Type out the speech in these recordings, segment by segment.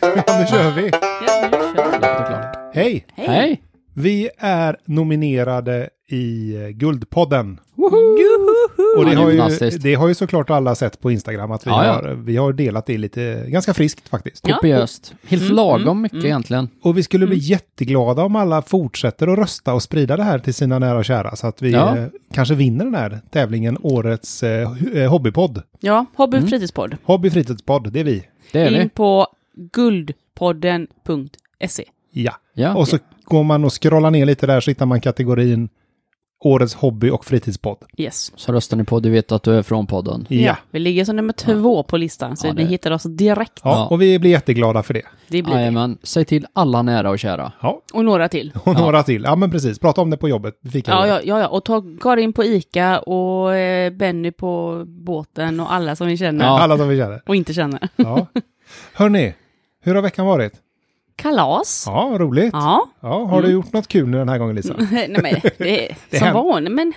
Ja, nu kör vi. Ja, nu kör vi. Hej! Hej! Hej! Vi är nominerade i eh, Guldpodden. Juhuhu! Och det Ja, har, ju, fantastiskt. det har ju såklart alla sett på Instagram att vi, Ja, ja. Har, vi har delat det lite, ganska friskt faktiskt. Ja. Mm, Kopiöst. Helt lagom mycket egentligen. Och vi skulle bli Mm. jätteglada om alla fortsätter att rösta och sprida det här till sina nära och kära så att vi Ja. eh, kanske vinner den här tävlingen, årets eh, hu- eh, hobbypodd. Ja, Hobby och fritidspodd. Hobby fritidspodd, det är vi. Det är In vi. på guldpodden.se. Ja. Ja. Och så går man och scrollar ner lite där så hittar man kategorin årets hobby och fritidspodd. Yes. Så röstar ni på Du vet att du är från podden. Ja. Vi ligger som nummer två på listan, så Ja, ni det- hittar oss direkt. Ja, och vi blir jätteglada för det. Det blir det. Jajamän. Säg till alla nära och kära. Ja. Och några till. Och några till. Ja, men precis. Prata om det på jobbet. Fika Ja, ja, ja, ja. och ta Karin på ICA och eh, Benny på båten och alla som vi känner. Ja. Alla som vi känner. Och inte känner. Ja. Hörni, hur har veckan varit? Kalas. Ja, roligt. Ja. Ja. har du gjort något kul nu den här gången, Lisa? Nej, men det är Det som händer. vanligt. Men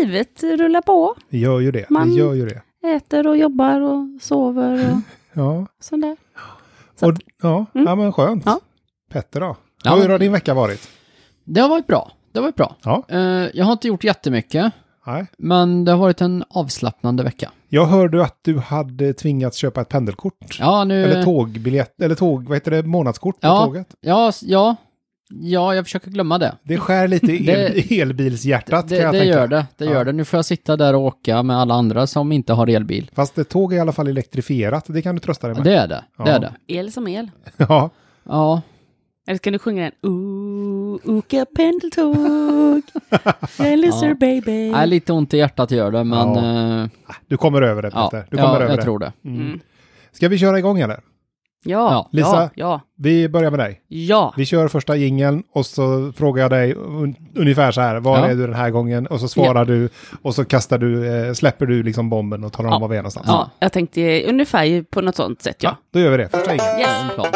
livet rullar på. Vi gör ju det. Man- Vi gör ju det. Äter och jobbar och sover och Ja, sånt där. Så och, ja. ja men skönt. Ja. Petter då? Ja, hur men- har din vecka varit? Det har varit bra. Det har varit bra. Ja. Eh, jag har inte gjort jättemycket, Nej. men det har varit en avslappnande vecka. Jag hörde att du hade tvingats köpa ett pendelkort. Ja, nu... Eller tågbiljett, eller tåg, vad heter det, månadskort på ja, tåget. Ja, s- ja. Ja, jag försöker glömma det. Det skär lite i el, Det- elbilshjärtat kan Det, jag det tänka. gör det. Det Ja. gör det. Nu får jag sitta där och åka med alla andra som inte har elbil. Fast ett tåg är i alla fall elektrifierat, det kan du trösta dig med. Det är det. Det Ja. är det. El som el. Ja. Ja. Eller ska du sjunga den? Ooh, Åka pendeltåg, jag lyssnar baby. Nej, lite ont i hjärtat gör det, men... Ja. eh, Du kommer över det, Ja, Petter. Du kommer ja över jag det. tror det. Mm. Ska vi köra igång eller? Ja, ja, Lisa? ja, ja, Vi börjar med dig. ja. Vi kör första jingeln och så frågar jag dig un- ungefär så här, var Ja. är du den här gången? Och så svarar du och så kastar du, eh, släpper du liksom bomben och talar om Ja. var vi är någonstans. Ja. Jag tänkte ungefär på något sånt sätt, ja. Då gör vi det, första jingeln. Det är Yes. en plan.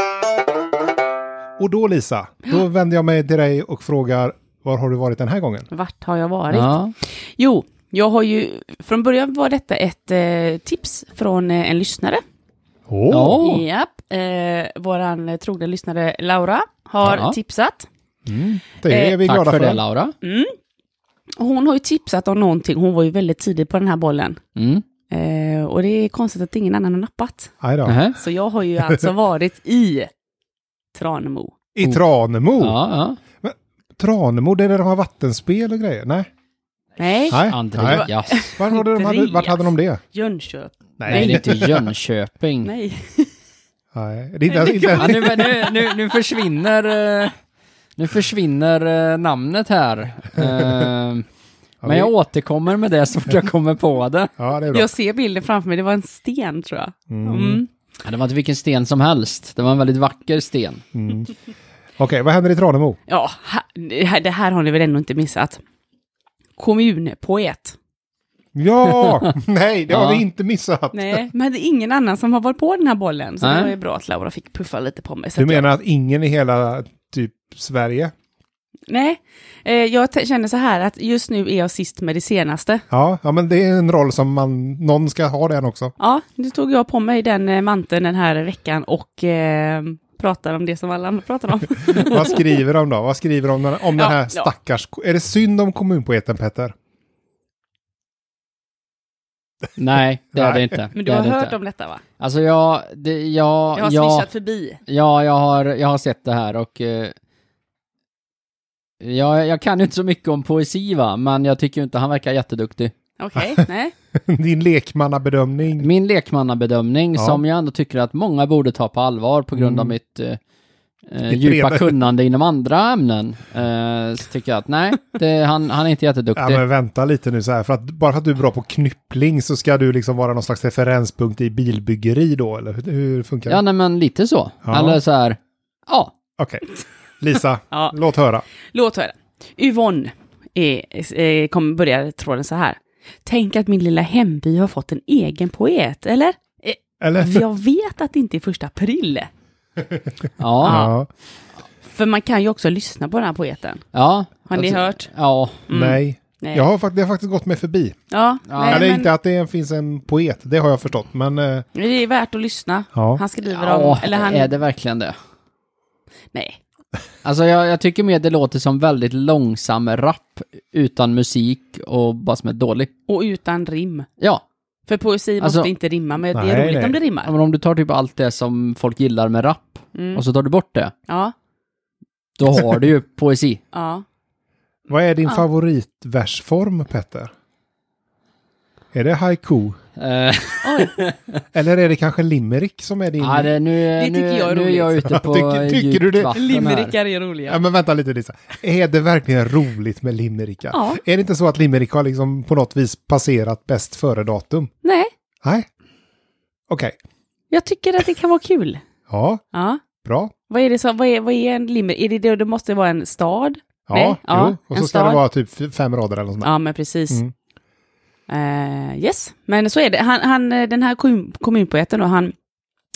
Och då Lisa, då vänder jag mig till dig och frågar, var har du varit den här gången? Vart har jag varit? Ja. Jo, jag har ju, från början var detta ett eh, tips från eh, en lyssnare. Åh, Ja. Åh. Japp, eh, våran eh, trogna lyssnare Laura har Ja. tipsat. det är Eh, Mm. vi glada Tack för. för det, Laura. Och Hon har ju tipsat om någonting, hon var ju väldigt tidig på den här bollen. Mm. Eh, och det är konstigt att ingen annan har nappat. Aj då. Nähä. Så jag har ju alltså varit i Tranemo. I Tranemo. Ja, Tranemo, det är där de har vattenspel och grejer? Nej. Nej, ja. Nej. Nej. Andreas. Var hade de hade, vart hade de det? Jönköping. Nej, det är inte Jönköping. Nej. Nej. Det är inte, inte, Ja, nu, nu, nu, nu försvinner, eh, nu försvinner eh, namnet här. Eh, Men jag återkommer med det så fort jag kommer på det. ja, det är bra. Jag ser bilden framför mig, det var en sten tror jag. Mm. Ja, det var inte vilken sten som helst. Det var en väldigt vacker sten. Okej, vad händer i Tranemo? Ja, ha- det här- det här har ni väl ändå inte missat. Kommunpoet. Ja! Nej, det har Ja. vi inte missat. Nej, men det är ingen annan som har varit på den här bollen. Så Nej. det var ju bra att Laura fick puffa lite på mig. Så Du att jag- menar att ingen i hela typ Sverige? Nej, eh, jag t- känner så här att just nu är jag sist med det senaste. Ja, ja men det är en roll som man, någon ska ha den också. Ja, nu tog jag på mig den eh, manteln den här veckan och eh, pratar om det som alla andra pratar om. Vad skriver de då? Vad skriver de om den, om den Ja, här ja. stackars... Är det synd om kommunpoeten Petter? Nej, det är det Nej. inte. Men du det är har det hört inte. om detta va? Alltså jag, det, jag, Jag har jag, swishat förbi. ja, jag har, jag har sett det här och eh, jag, jag kan ju inte så mycket om poesi va, men jag tycker ju inte han verkar jätteduktig. Okej, nej. Din lekmannabedömning? Min lekmannabedömning Ja. som jag ändå tycker att många borde ta på allvar på grund av mitt eh, eh, Ditt djupa breda- kunnande inom andra ämnen. Eh, så tycker jag att nej, det, han, han är inte jätteduktig. Ja, men vänta lite nu så här. För att, bara för att du är bra på knyppling så ska du liksom vara någon slags referenspunkt i bilbyggeri då, eller hur, hur funkar det? Ja, nej, men lite så. Ja. Eller så här, ja. Okej. Lisa, Ja. låt höra. Låt höra. Yvonne är, eh, kommer börja tråden så här. Tänk att min lilla hemby har fått en egen poet, eller? Eh, Eller? Jag vet att det inte är första april. Ja, Ja. För man kan ju också lyssna på den här poeten. ja. Har ni hört? Ja, Nej. Mm. Nej. Jag har, fakt- det har faktiskt gått mig förbi. Ja, Ja. nej, Eller men inte att det finns en poet, det har jag förstått, men... eh, det är värt att lyssna. Ja. Han skriver om, Ja, eller han... är det verkligen det? Nej. Alltså jag, jag tycker mer det låter som väldigt långsam rap utan musik och bara som är dålig. Och utan rim. Ja, För poesi Alltså- måste inte rimma, men det är Nej, roligt nej. om det Ja, rimmar. men om du tar typ allt det som folk gillar med rap Mm. och så tar du bort det, Ja, då har du ju poesi. ja. Vad är din Ja. favoritversform, Petter? Är det haiku? Eh, Oj, Eller är det kanske limerick som är din? ja, det, nu, tycker nu, jag är nu är jag roligt. ute på Tycker- tycker djupt du det? vatten här. limerickar är Ja, roliga. men vänta lite Lisa. Är det verkligen roligt med limerickar? Ja. Är det inte så att limerick har liksom på något vis passerat bäst före-datum? Nej, Nej. Okej. jag tycker att det kan vara kul. Ja, Ja. bra. Vad är det som, vad är, vad är en limmer? Är det, det det måste vara en stad? Ja, Nej, ja, jo. Och en så ska det stad. vara typ f- fem rader eller något sånt där. Ja, men precis. Mm. Eh, yes, men så är det. Han, han, eh, den här kommun, kommunpoeten då, han,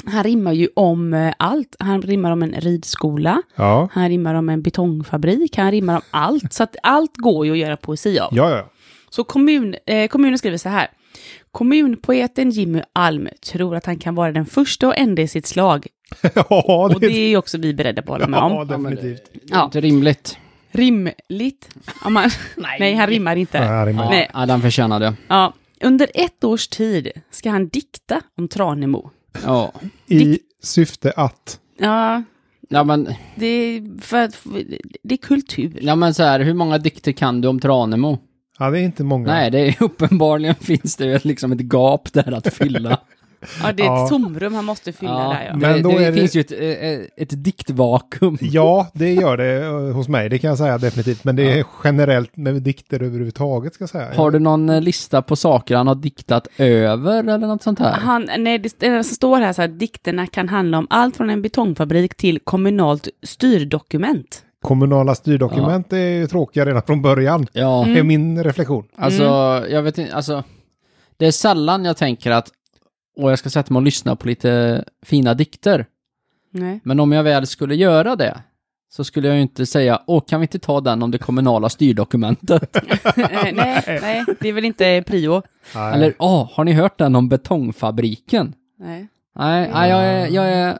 han rimmar ju om eh, allt. Han rimmar om en ridskola, Ja. han rimmar om en betongfabrik, han rimmar om allt. Så att allt går ju att göra poesi av. Ja, ja, ja. Så kommun, eh, kommunen skriver så här. Kommunpoeten Jimmy Alm tror att han kan vara den första och enda i sitt slag. ja, Och det är ju också vi beredda på att hålla med om. ja, definitivt. Det är Inte rimligt. Rimligt. Om man, nej. han rimmar inte. Ja, här är min- Ja, Nej. ja, den förtjänar det. Ja. Under ett års tid ska han dikta om Tranemo. Ja. I syfte att... Ja, Ja men, det är, för, att- för, det är kultur. ja men så här, hur många dikter kan du om Tranemo? Ja, det är inte många. Nej, det är uppenbarligen finns det ju ett- liksom ett gap där att fylla. Ja, det är ett Ja. tomrum han måste fylla Ja, där. Ja. Men det, då det är det- finns ju ett, eh, ett diktvakuum. Ja, det gör det eh, hos mig, det kan jag säga definitivt. Men det är generellt med dikter överhuvudtaget, ska jag säga. Har du någon eh, lista på saker han har diktat över eller något sånt här? Han, nej, det, det som står här så här, dikterna kan handla om allt från en betongfabrik till kommunalt styrdokument. Kommunala styrdokument är ju tråkiga redan från början. Ja, Mm. Det är min reflektion. alltså jag vet inte, alltså det är sällan jag tänker att och jag ska sätta mig och lyssna på lite fina dikter. Nej. Men om jag väl skulle göra det så skulle jag ju inte säga, åh kan vi inte ta den om det kommunala styrdokumentet? Eh, nej, nej, det är väl inte prio. Nej. Eller, åh, har ni hört den om betongfabriken? Nej. Nej, nej jag, är, jag är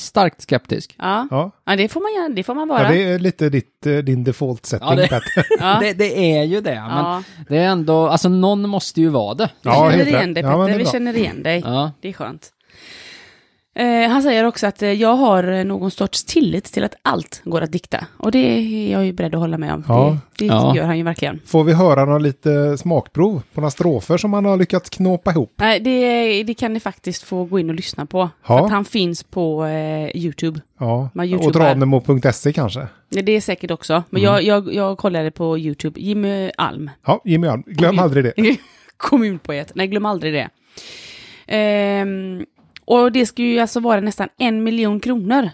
starkt skeptisk. Ja. Ja. ja, det får man, gärna- det får man vara. ja, det är lite ditt, eh, din default setting, Ja, det- Petter. Ja. Det, det är ju det, men Ja. det är ändå, alltså någon måste ju vara det. Vi Ja, känner helt igen rätt. dig Ja, men Petter, det är vi bra. känner igen dig. Ja. Det är skönt. Eh, han säger också att eh, jag har eh, någon sorts tillit till att allt går att dikta. Och det är jag ju beredd att hålla med om. Ja. Det, det Ja. gör han ju verkligen. Får vi höra någon lite smakprov på några strofer som han har lyckats knåpa ihop? Nej, det, det kan ni faktiskt få gå in och lyssna på. För Ja. att han finns på eh, YouTube. Ja, Man youtubar. och dranemo.se E kanske. Nej, Det är säkert också. Men jag, Mm. jag, jag kollade på YouTube. Jimmy Alm. Ja, Jimmy Alm, glöm Kommun- aldrig det. Kommunpoet. Nej, glöm aldrig det. Ehm, och det ska ju alltså vara nästan en miljon kronor.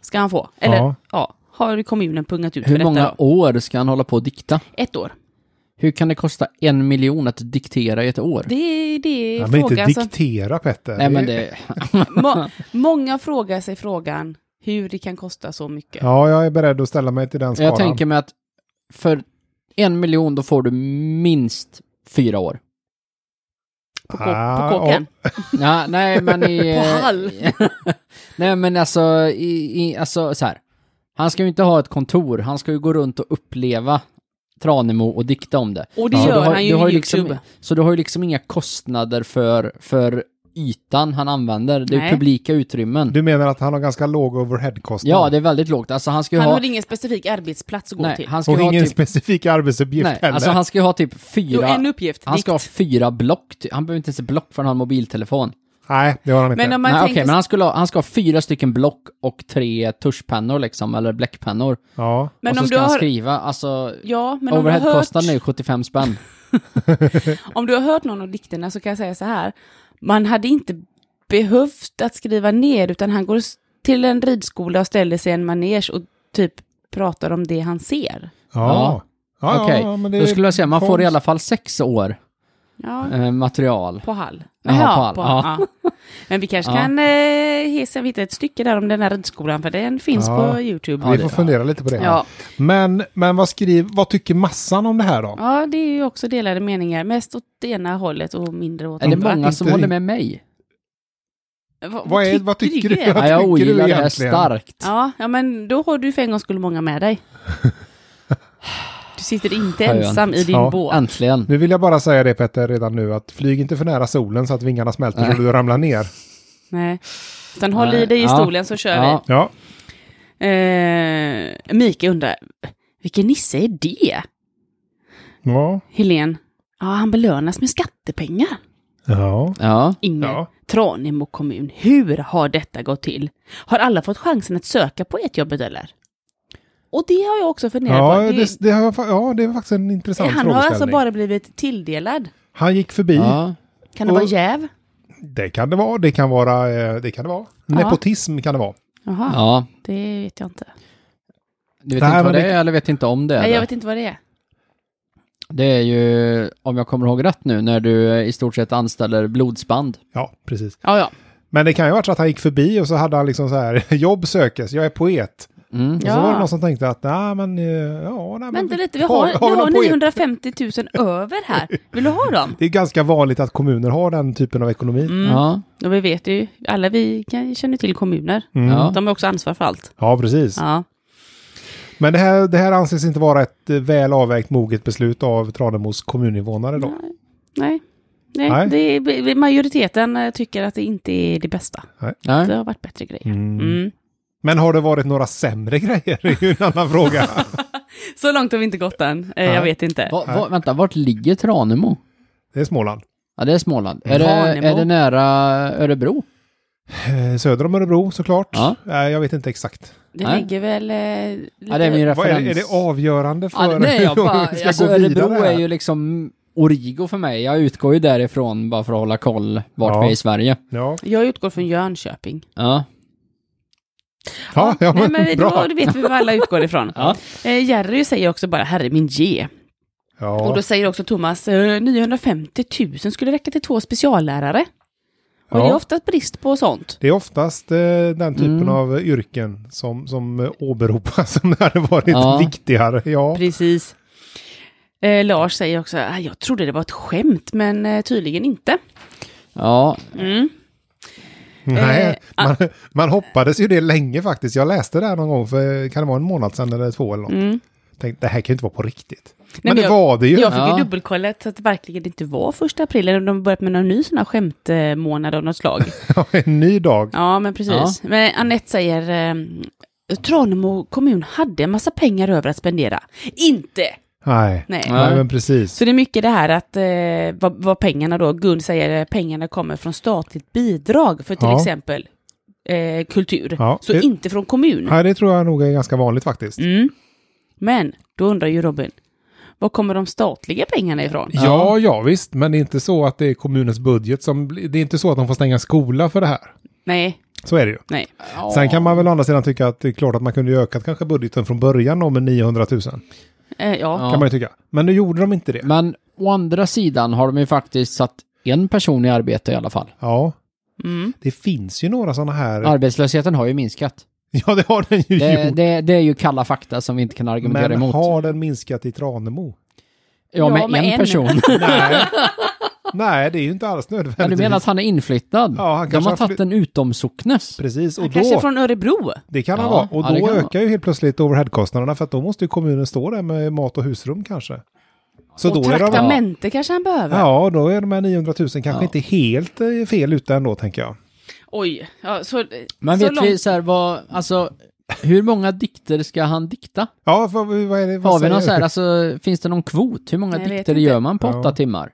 Ska han få. Eller ja, Ja. har kommunen pungat ut för Hur detta. många då? år ska han hålla på och dikta? Ett år. Hur kan det kosta en miljon att diktera i ett år? Det är, det är Ja, men inte frågan som... diktera, Petter. Nej men det, Må, många frågar sig frågan hur det kan kosta så mycket. Ja, jag är beredd att ställa mig till den skaran. jag tänker mig att för en miljon då får du minst fyra år. På, kå, Ah, på kåken. Ja, nej men i... eh, På Hall. nej men alltså, i, i, alltså så här. Han ska ju inte ha ett kontor, han ska ju gå runt och uppleva Tranemo och dikta om det. Och det Så gör du har- han ju du har i liksom- YouTube. Så du har ju liksom inga kostnader för, för ytan han använder, det är Nej. ju publika utrymmen. Du menar att han har ganska låg overheadkostnad? Ja, det är väldigt lågt. Alltså han ska ju Han ha... har ingen specifik arbetsplats att gå Nej, till. han ska Och ju ha ingen typ... specifik arbetsuppgift Nej, heller. alltså han ska ju ha typ Jo, fyra... en uppgift. han ska ha dikt. fyra block, ty- han behöver inte ens ett block för han har en mobiltelefon. Nej, det har han inte. Men om man Nej, okej, tänker men han, skulle ha, han ska ha fyra stycken block och tre tuschpennor liksom, eller bläckpennor. Ja. Men och så om ska du han har... skriva, alltså... Ja, men om du har hört... Overheadkostnaden är ju 75 spänn. Om du har hört någon av dikterna så kan jag säga så här. Man hade inte behövt att skriva ner, utan han går s- till en ridskola och ställer sig i en manege och typ pratar om det han ser. Ja. ja. ja, Okej, ja, men det då är skulle jag säga man konst. får i alla fall sex år Ja, eh, material. på Hall. Jaha, på Hall, ja. Men vi kanske Ja. kan eh, hissa hitta ett stycke där om den här ridskolan, för den finns Ja. på YouTube. Ja, Vi det- får fundera lite på det. Ja. Men, men vad, skriv, vad tycker massan om det här då? ja, det är ju också delade meningar. Mest åt det ena hållet och mindre åt Är det andra. många som Inte- håller med mig? Vad, Vad, är, vad tycker du? egentligen? Vad Ja, jag tycker du ogillar det här egentligen? starkt. Ja, ja, men då har du för en gång skulle många med dig. Du sitter inte Skönt. ensam i din Ja. båt. Äntligen. Nu vill jag bara säga det Petter redan nu att flyg inte för nära solen så att vingarna smälter Nej. och du ramlar ner. Nej. Utan håll i Nej, dig i ja. stolen så kör Ja. Ja, vi. Eh, Mika undrar, vilken nisse är det? ja, Helen, ja han belönas med skattepengar. ja. Ja. Inge, Ja. Tranemo kommun, hur har detta gått till? Har alla fått chansen att söka på ett jobbet eller? Och det har jag också funderat Ja, på. Det, det, det, har jag fa- ja, det är faktiskt en intressant han har frågeställning. alltså bara blivit tilldelad. Han gick förbi. ja. Kan det Och- vara jäv? Det kan det vara. Det kan vara. eh, Det kan det vara. Nepotism kan det vara. Jaha, ja. det vet jag inte. Du vet Nej, inte vad men det det- är eller vet inte om det är? Nej, jag det? vet inte vad det är. Det är ju, om jag kommer ihåg rätt nu, när du eh, i stort sett anställer blodsband. Ja, precis. Ja, ja. Men det kan ju ha varit så att han gick förbi och så hade han liksom så här. Jobb sökes. Jag är poet. Mm. Och så var det Ja. någon som tänkte att nej men eh, ja. Nej, Vänta men, lite, vi har, vi någon har poet? 950 000 över här. Vill du ha dem? Det är ganska vanligt att kommuner har den typen av ekonomi. Mm. Ja. Och vi vet ju, alla vi kan, känner till kommuner. Mm. Ja. De har också ansvar för allt. Ja, precis. Ja. Men det här, det här anses inte vara ett eh, väl avvägt moget beslut av Tranemos kommuninvånare då. Nej. Nej. Nej, Nej. Det är, majoriteten eh, tycker att det inte är det bästa. Det Nej. har varit bättre grejer. Mm. Mm. Men har det varit några sämre grejer? Det är ju en annan fråga. Så långt har vi inte gått än. Eh, Jag Nej. vet inte. Va, va, vänta, vart ligger Tranemo? Det är Småland. Ja, det är Småland. Mm. Är Tranemo. det, är det nära Örebro? Eh, Söder om Örebro såklart. Ja. Nej, jag vet inte exakt. Det Nej. ligger väl eh, lite... Ja, det är min Vad referens. är, är det avgörande Ja, för nej, jag bara, hur vi ska alltså, gå Örebro vidare? här? är ju liksom origo för mig. Jag utgår ju därifrån bara för att hålla koll vart Ja. vi är i Sverige. Ja, Jag utgår från Jönköping. Ja. ja, ja Nej, men, men bra. då vet vi vad alla utgår ifrån. Ja. Eh, Jerry säger också bara, herre min G. Och Ja, då säger också Thomas, eh, 950 000 skulle räcka till två speciallärare. Och Ja. det är oftast brist på sånt. det är oftast eh, den typen Mm. av eh, yrken som, som eh, åberopas som det hade varit Ja. viktigare. Ja. Precis. Eh, Lars säger också, "Ah, jag trodde det var ett skämt, men eh, tydligen inte. Ja, Mm. Eh, Nej, man, man hoppades ju det länge faktiskt. Jag läste det här någon gång för, kan det vara en månad sedan eller två eller något? Mm. Tänkte, det här kan ju inte vara på riktigt. men, men det jag- var det ju. Jag fick Ja. ju dubbelkollat så att det verkligen inte var första april, eller om de börjat med någon ny sån här skämtmånad av något slag. en ny dag. ja, men precis. Men Annette säger, eh, Tranemo kommun hade en massa pengar över att spendera. Inte! Nej. Nej. Nej, men precis. Så det är mycket det här att eh, vad, vad pengarna då, Gun säger eh, pengarna kommer från statligt bidrag för till Ja. exempel eh, kultur. Ja, Så det- inte från kommun. Nej, det tror jag nog är ganska vanligt faktiskt. Mm. Men då undrar ju Robin, var kommer de statliga pengarna ifrån? Ja, ja visst, men det är inte så att det är kommunens budget som... blir- Det är inte så att de får stänga skola för det här. Nej, Så är det ju. nej. Sen kan man väl å andra sidan tycka att det är klart att man kunde ju ökat kanske budgeten från början då med 900 000. Kan Eh, ja. Ja. man ju tycka. Men nu gjorde de inte det. Men å andra sidan har de ju faktiskt satt en person i arbete i alla fall. Ja, Mm. det finns ju några sådana här... Arbetslösheten har ju minskat. Ja, det har den ju Det, gjort. det, det är ju kalla fakta som vi inte kan argumentera Men emot. har den minskat i Tranemo? Ja, med, Ja, med en, en. person. Nej. Nej, det är ju inte alls Men du nödvändigtvis. menar att han är inflyttad? Ja, han de kanske har har tagit en utomsocknes. Precis, och Han kanske är då... från Örebro. Det kan han Ja, vara. Och ja, det då kan han ökar ju helt plötsligt overheadkostnaderna för att då måste ju kommunen stå där med mat och husrum kanske. Så och då är de traktamente kanske han behöver. Ja, då är de här 900 000 kanske Ja. inte helt eh, fel ute ändå, tänker jag. Oj, ja, så, eh, Men så vet vi så här, vad, alltså, hur många dikter ska han dikta? Ja, för, vad är det? Vad Har vi säger någon så här, du? alltså, finns det någon kvot? Hur många Nej, jag vet dikter inte. gör man på Ja. åtta timmar?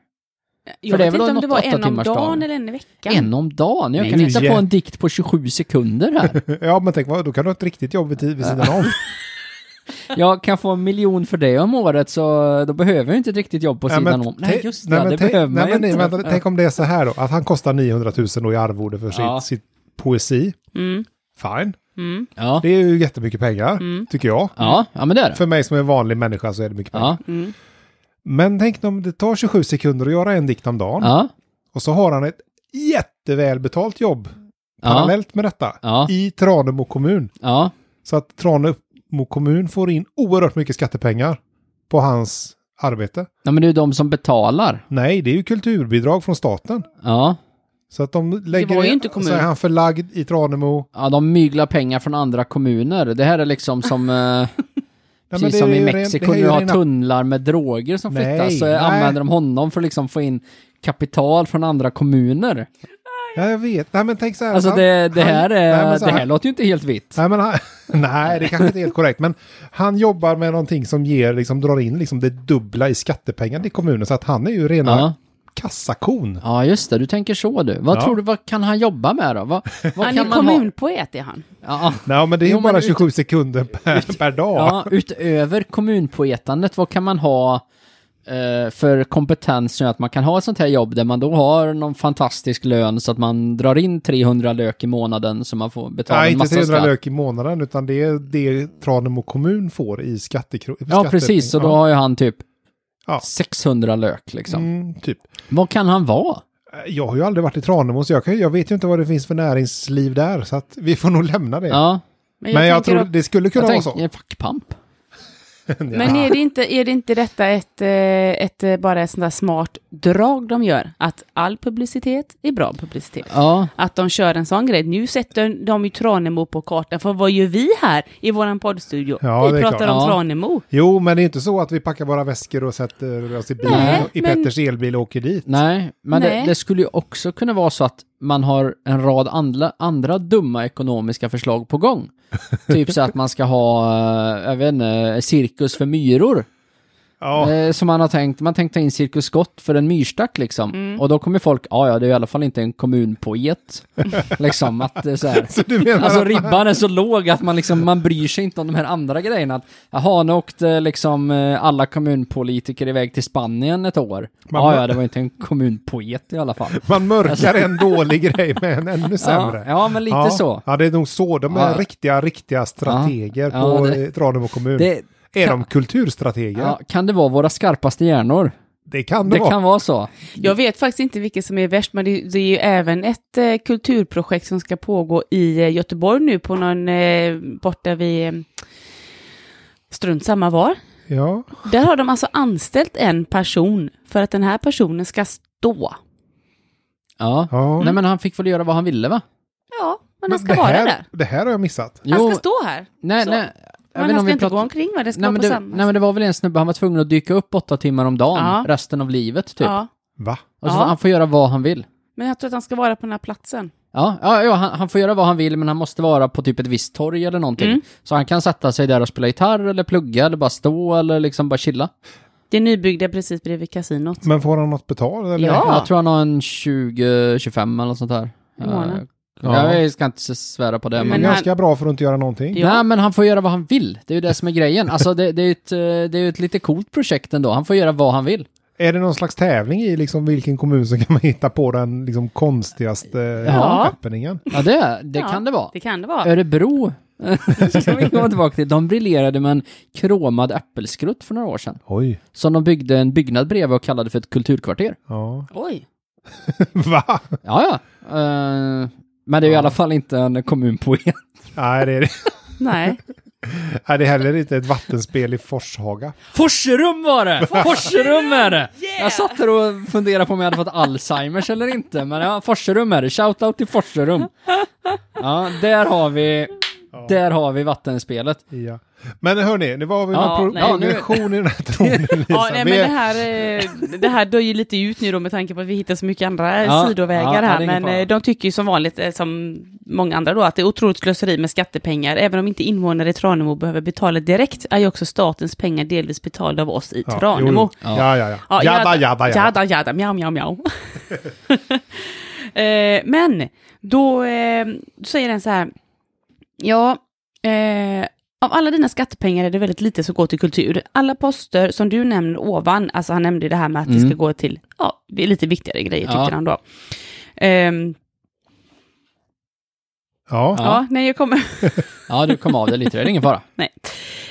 Jag det är vet väl inte om något det var en om åttatimmarsdag. dagen eller en i veckan. En om dagen? Jag Nej, kan det är hitta ju på en jätte- dikt på 27 sekunder här. Ja, men tänk vad, då kan du ha ett riktigt jobb vid, vid sidan om. Jag kan få en miljon för det om året, så då behöver jag inte ett riktigt jobb på Nej, sidan men om. te- Nej, just det, men det tänk- behöver man nej, ju men, nej, inte. vänta, Tänk om det är så här då, att han kostar 900 000 då i arvode för Ja. sitt, sitt poesi. Mm. Fine. Mm. Ja. Det är ju jättemycket pengar, tycker jag. Mm. Ja, ja, men det är det. För mig som är en vanlig människa så är det mycket pengar. Ja. Mm. Men tänk om det tar 27 sekunder att göra en dikt om dagen. Ja. Och så har han ett jättevälbetalt jobb Ja. parallellt med detta Ja. i Tranemo kommun. Ja. Så att Tranemo kommun får in oerhört mycket skattepengar på hans arbete. ja, men det är ju de som betalar. Nej, det är ju kulturbidrag från staten. Ja. Så att de lägger var ju in- inte kommun. Så är han förlagd i Tranemo. Ja, de myglar pengar från andra kommuner. Det här är liksom som... Eh, Nej, men Precis det är som ju i ren- Mexiko det här är nu ju har rena- tunnlar med droger som Nej, flyttas, så nej. använder de honom för att liksom få in kapital från andra kommuner. Ja, jag vet. Nej, men tänk så här. Alltså han- det, det han- här, Nej, är, men så det här- här låter ju inte helt vitt. Nej, men han, nej, det kanske inte är helt korrekt. Men han jobbar med någonting som ger, liksom, drar in liksom det dubbla i skattepengar till kommunen. Så att han är ju rena Ja. kassakon. ja, just det, du tänker så du. Vad Ja. tror du, vad kan han jobba med då? Vad, vad Han kan är man ha? kommunpoet är han. Ja, Nej, men det är Jo, ju typ- men bara ut- 27 sekunder per, per dag. ja, utöver kommunpoetandet, vad kan man ha eh, för kompetens så att man kan ha ett sånt här jobb där man då har någon fantastisk lön så att man drar in 300 lök i månaden så man får betala Nej, en inte massa 300 skatt. lök i månaden, utan det är det Tranemo kommun får i skattekronor. Ja, precis. Så då har ju han typ Ja. 600 lök liksom. Mm, typ. Vad kan han vara? Jag har ju aldrig varit i Tranemo, så jag, kan, ju- jag vet ju inte vad det finns för näringsliv där. Så att vi får nog lämna det. Ja, Men jag, men jag tänker tror att- det skulle kunna jag vara tänkte så. en fackpamp. Men är det inte, är det inte detta ett, eh, ett, eh, bara ett sånt där smart drag de gör? Att all publicitet är bra publicitet. Ja, Att de kör en sån grej. Nu sätter de ju Tranemo på kartan, för vad gör vi här i våran poddstudio? Ja, det vi är pratar klart. om Ja. Tranemo. Jo, men det är inte så att vi packar våra väskor och sätter oss i bilen, Nej, i men- Petters elbil och åker dit. nej, men Nej. Det, det skulle ju också kunna vara så att man har en rad andra, andra dumma ekonomiska förslag på gång. typ så att man ska ha, eh, jag vet inte, cirkus för myror. Ja, Eh, som man har tänkt, man tänkt ta in cirkus Scott för en myrstack liksom. Och då kommer folk, ja ja, det är i alla fall inte en kommunpoet. liksom att det är så här. så du menar Alltså att- ribban är så låg att man liksom, man bryr sig inte om de här andra grejerna. Att, jaha, nu åkte liksom eh, alla kommunpolitiker iväg till Spanien ett år. Mamma. Ja, ja, det var inte en kommunpoet i alla fall. man mörkar en dålig grej med en ännu Ja, sämre? ja, men lite Ja, så. Ja, det är nog så. De är Ja. riktiga, riktiga strateger Ja, ja, på det- eh, Tranemo kommun. Det, är de kulturstrateger? ja, kan det vara våra skarpaste hjärnor? Det kan det, Det vara. kan vara så. Jag vet faktiskt inte vilket som är värst, men det, det är ju även ett eh, kulturprojekt som ska pågå i eh, Göteborg nu på någon, eh, borta vid, eh, strunt samma var. Ja. Där har de alltså anställt en person för att den här personen ska stå. Ja. ja. Nej men han fick väl göra vad han ville va? Ja, men han Men ska det, vara här, där. det här har jag missat. Han ska stå här. nej, så. nej. Jag Men han vet om ska vi inte pratat- gå omkring va? Det ska Nej men, vara på det, samma nej men det var väl en snubbe, han var tvungen att dyka upp åtta timmar om dagen Ja. resten av livet typ. ja. Va? Och så Ja. han får göra vad han vill. men jag tror att han ska vara på den här platsen. Ja, ja, ja han, han får göra vad han vill men han måste vara på typ ett visst torg eller någonting. Mm. Så han kan sätta sig där och spela gitarr eller plugga eller bara stå eller liksom bara chilla. Det är nybyggda precis bredvid kasinot. Men får han något betalt? Eller? Ja. Jag tror han har en 20-25 eller något sånt här. Ah. I månaden. Ja. Jag ska inte svära på det Det men... är Men ganska bra för att inte göra någonting. Ja. Nej men han får göra vad han vill, det är ju det som är grejen. Alltså det, det är ju ett, eh, det är ju ett lite coolt projekt ändå, han får göra vad han vill. Är det någon slags tävling i liksom vilken kommun som kan man hitta på den liksom konstigaste Ja. ja. happeningen? Ja det, det Ja, kan det vara. Eh. Det kan det vara. Örebro, ska vi komma tillbaka till, de briljerade med en kromad äppelskrutt för några år sedan. Oj. Som de byggde en byggnad bredvid och kallade för ett kulturkvarter. Ja. Oj. Va? Ja, ja. Eh, men det är ju i alla fall inte en kommunpoet. Nej, det är, Nej. nej, det är heller inte ett vattenspel i Forshaga. Forserum var det! Forserum är det! Jag satt här och funderade på om jag hade fått Alzheimers eller inte, men ja, Forserum är det. Shoutout till Forserum. Ja, där har vi, där har vi vattenspelet. Ja. Men hörni, det var väl Ja, någon pro- nej, nu- progression i den här tronen, Lisa. Ja, nej, men Vi- det här, eh, det här dör ju lite ut nu då med tanke på att vi hittar så mycket andra eh, Ja, sidovägar ja, det är här. ingen Men fara. eh, de tycker ju som vanligt, eh, som många andra då, att det är otroligt slöseri med skattepengar. Även om inte invånare i Tranemo behöver betala direkt, är ju också statens pengar delvis betalda av oss i Ja, Tranemo. jo, jo. Ja, ja, ja. Ja, Jada, jada, jada. Jada, jada, mjau, mjau, mjau. eh, men då eh, då säger den så här, ja, eh, av alla dina skattepengar är det väldigt lite som går till kultur. Alla poster som du nämner ovan, alltså han nämnde ju det här med att det Mm. ska gå till ja, det är lite viktigare grejer tyckte Ja. han då. Ehm, Ja. ja. Ja. nej jag kommer, Ja, du kom av det lite, det är ingen fara. nej.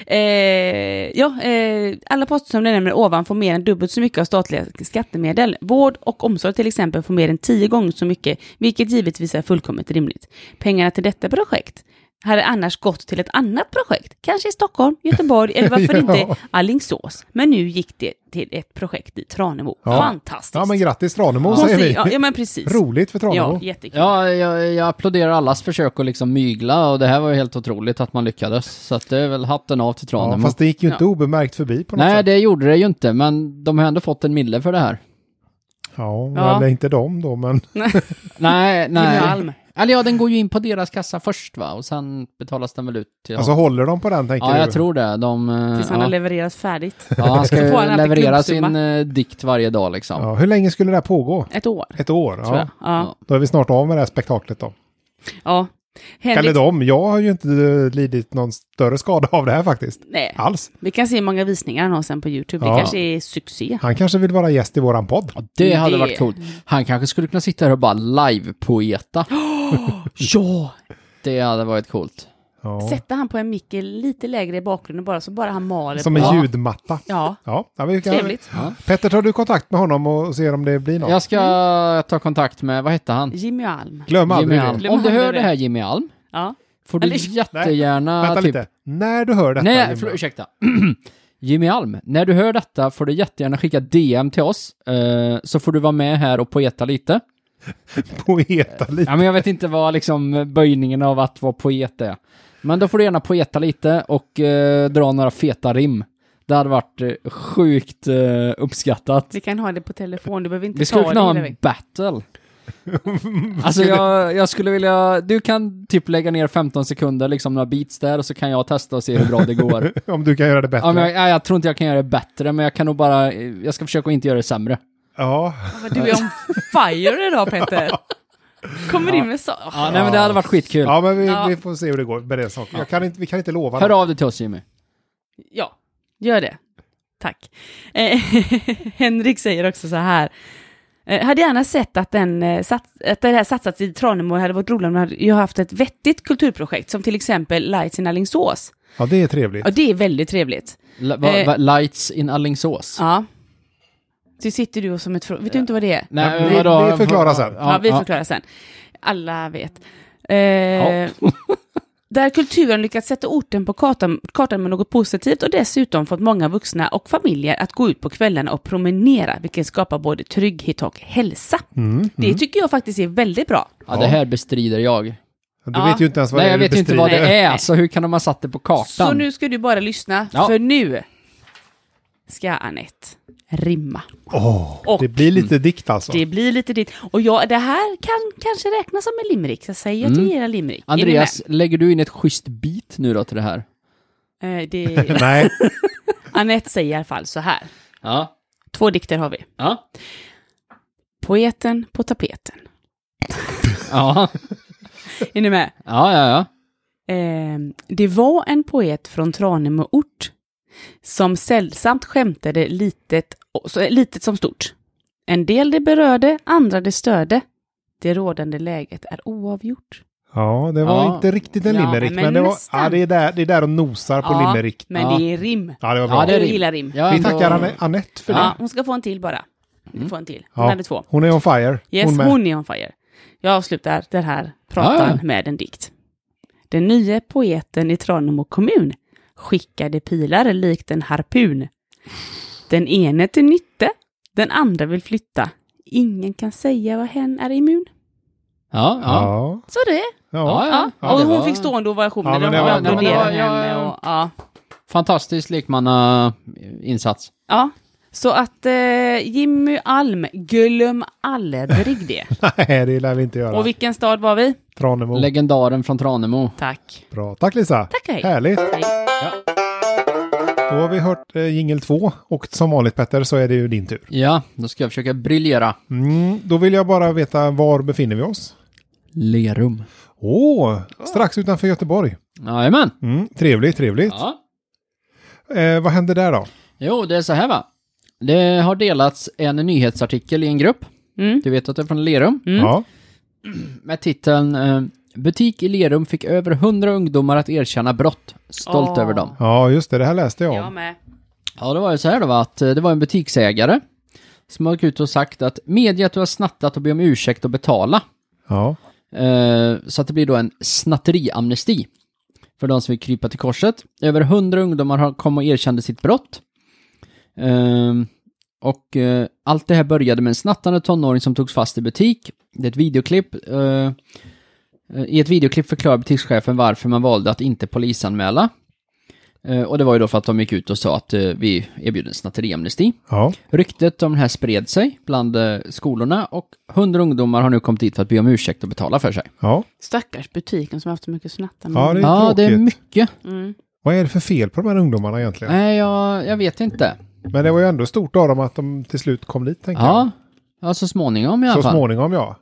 Eh, ja, eh, alla poster som ni nämner ovan får mer än dubbelt så mycket av statliga skattemedel. Vård och omsorg till exempel får mer än tio gånger så mycket, vilket givetvis är fullkomligt rimligt. Pengarna till detta projekt hade annars gått till ett annat projekt, kanske i Stockholm, Göteborg eller varför Ja. inte Alingsås. Men nu gick det till ett projekt i Tranemo. Ja. Fantastiskt! Ja, men grattis Tranemo Måste- säger vi. ja, ja, men precis. Roligt för Tranemo. Ja, jättekul. Ja, jag, jag applåderar allas försök att liksom mygla och det här var ju helt otroligt att man lyckades. Så att det är väl hatten av till Ja, Tranemo. fast det gick ju inte Ja. obemärkt förbi på något Nej, sätt. det gjorde det ju inte, men de har ändå fått en mille för det här. Ja, Ja. eller inte dem då, men Nej, nej. Malm. Eller ja, den går ju in på deras kassa först va, och sen betalas den väl ut till alltså håller de på den tänker Ja, du? jag tror det. De, eh, Tills han har ja. levererat färdigt. ja, han ska Så ju får han alltid leverera klumpsumma. sin eh, dikt varje dag liksom. Ja, hur länge skulle det här pågå? Ett år, Ett år? Tror jag. Ja. ja. Då är vi snart av med det här spektaklet då. Ja. Eller Henrik, dem, jag har ju inte eh, lidit någon större skada av det här faktiskt. nej, Alls. vi kan se hur många visningar han har sen på YouTube. Det Ja. kanske är succé. Han kanske vill vara gäst i våran podd. Ja, Det hade Det- varit coolt. Han kanske skulle kunna sitta här och bara live-poeta. Ja! Det hade varit coolt. Ja. Sätta han på en mick lite lägre i bakgrunden bara, så bara han maler Som på. en Ja. ljudmatta. Ja, Ja, ja vi kan... trevligt. Petter, tar du kontakt med honom och ser om det blir något? Jag ska ta kontakt med, vad hette han? Jimmy Alm. Glöm Jimmy aldrig det. Alm. Glöm Om du aldrig hör det det. här Jimmy Alm, Ja. får du Eller- jättegärna... Vänta typ, lite. När du hör detta, Nej, Jimmy, för, ursäkta. Jimmy Alm, när du hör detta får du jättegärna skicka DM till oss, eh, så får du vara med här och poeta lite. poeta lite. Ja, men jag vet inte vad liksom böjningen av att vara poet är. Men då får du gärna poeta lite och eh, dra några feta rim. Det hade varit eh, sjukt eh, uppskattat. Vi kan ha det på telefon, du behöver inte Vi ta skulle kunna ha det en battle. Alltså jag, jag skulle vilja, du kan typ lägga ner 15 sekunder, liksom några beats där, och så kan jag testa och se hur bra det går. Om du kan göra det bättre. Ja, men jag, nej, jag tror inte jag kan göra det bättre, men jag kan nog bara, eh, jag ska försöka att inte göra det sämre. Ja. Men Du är on fire idag Peter. Kommer in med så... Ja, nej men det hade varit skitkul. Ja, men vi, Ja. vi får se hur det går med den saken. Jag kan inte, vi kan inte lova Hör något. av dig till oss Jimmy. Ja, gör det. Tack. Eh, Henrik säger också så här. Eh, hade gärna sett att, den, eh, sats- att det här satsats i Tranemo hade varit roligt om man hade ju haft ett vettigt kulturprojekt som till exempel Lights in Alingsås. Ja, det är trevligt. Ja, det är väldigt trevligt. L- va, Eh. va, lights in Alingsås. Ja. Så sitter du och som ett frå- Vet du inte vad det är? Nej, Ja, vi- vadå? vi förklarar sen. Ja, vi förklarar sen. Alla vet. Eh, där kulturen lyckats sätta orten på kartan, kartan med något positivt och dessutom fått många vuxna och familjer att gå ut på kvällarna och promenera, vilket skapar både trygghet och hälsa. Det tycker jag faktiskt är väldigt bra. Ja, det här bestrider jag. Du Ja. vet ju inte ens vad Nej, det är jag du vet ju inte vad bestrider. det är, så hur kan de ha satt det på kartan? Så nu ska du bara lyssna, Ja. för nu ska Anette rimma. Åh, Och- det blir lite dikt alltså. Det blir lite ditt. Och jag, det här kan kanske räknas som en limerick, så jag säger till era limerick. Är ni Mm. Andreas, lägger du in ett schysst beat nu då till det här? med? Eh, det, Nej, Anette säger i alla fall så här. Ja. Två dikter har vi. Ja. Poeten på tapeten. Ja, Är ni med? ja, ja. ja. Eh, det var en poet från Tranemo ort som sällsamt skämtade litet, och- så- litet som stort. En del det berörde, andra det störde. Det rådande läget är oavgjort. ja, det var Ja. inte riktigt en Ja, limerick, men, men det, var, nästan. ja, det, är där, det är där de nosar på Ja, limerick. Men Ja. det är rim. Ja, det var bra. Ja, det är Jag rim. gillar rim. Jag Vi ändå- tackar Anne- Anette för Ja, det. hon ska få en till bara. Mm. Du får en till. Hon Ja. hade två. Hon är on fire. Yes, hon hon, med. är on fire. Jag avslutar den här pratan Ah. med en dikt. Den nya poeten i Tranemo kommun skickade pilar likt en harpun. Den ene till nytte, den andra vill flytta. Ingen kan säga vad hen är immun. Ja, ja. Ja. Så det. Ja. Ja. ja, och det hon var- fick stående ovationer. Ja, men de det var- applåderade ja, men det var- henne. ja, Och, ja. Fantastisk lekmannainsats. ja. Så att eh, Jimmy Alm, glöm aldrig det. Nej, det lär vi inte göra. Och vilken stad var vi? Tranemo. Legendaren från Tranemo. Tack. Bra. Tack Lisa. Tack, hej. Härligt. Hej. Då har vi hört eh, jingel 2 och som vanligt Petter så är det ju din tur. Ja, då ska jag försöka briljera. Mm, då vill jag bara veta var befinner vi oss? Lerum. Åh, strax utanför Göteborg. Jajamän. Mm, trevligt, trevligt. Ja. Eh, vad händer där då? Jo, det är så här va. Det har delats en nyhetsartikel i en grupp. Mm. Du vet att det är från Lerum. Ja. Med titeln eh, Butik i Lerum fick över 100 ungdomar att erkänna brott. Stolt Åh. över dem. Ja, just det. Det här läste jag Jag om. med. Ja, det var ju så här då va, att eh, det var en butiksägare som har gått ut och sagt att medge att du har snattat och be om ursäkt och betala. Ja. Eh, så att det blir då en snatteriamnesti för de som vill krypa till korset. Över 100 ungdomar har kom och erkände sitt brott. Eh, och eh, allt det här började med en snattande tonåring som togs fast i butik. Det är ett videoklipp. eh, I ett videoklipp förklarar butikschefen varför man valde att inte polisanmäla. Eh, och det var ju då för att de gick ut och sa att eh, vi erbjuder en snatteriamnesti. Ja. Ryktet om det här spred sig bland eh, skolorna och 100 ungdomar har nu kommit hit för att be om ursäkt och betala för sig. Ja. Stackars butiken som haft så mycket snattande. Ja, det är ja, tråkigt. det är mycket. mm. Vad är det för fel på de här ungdomarna egentligen? Nej, jag, jag vet inte. Men det var ju ändå stort av dem att de till slut kom dit, tänker Ja, ja så småningom i alla jag. Så fall. småningom, ja.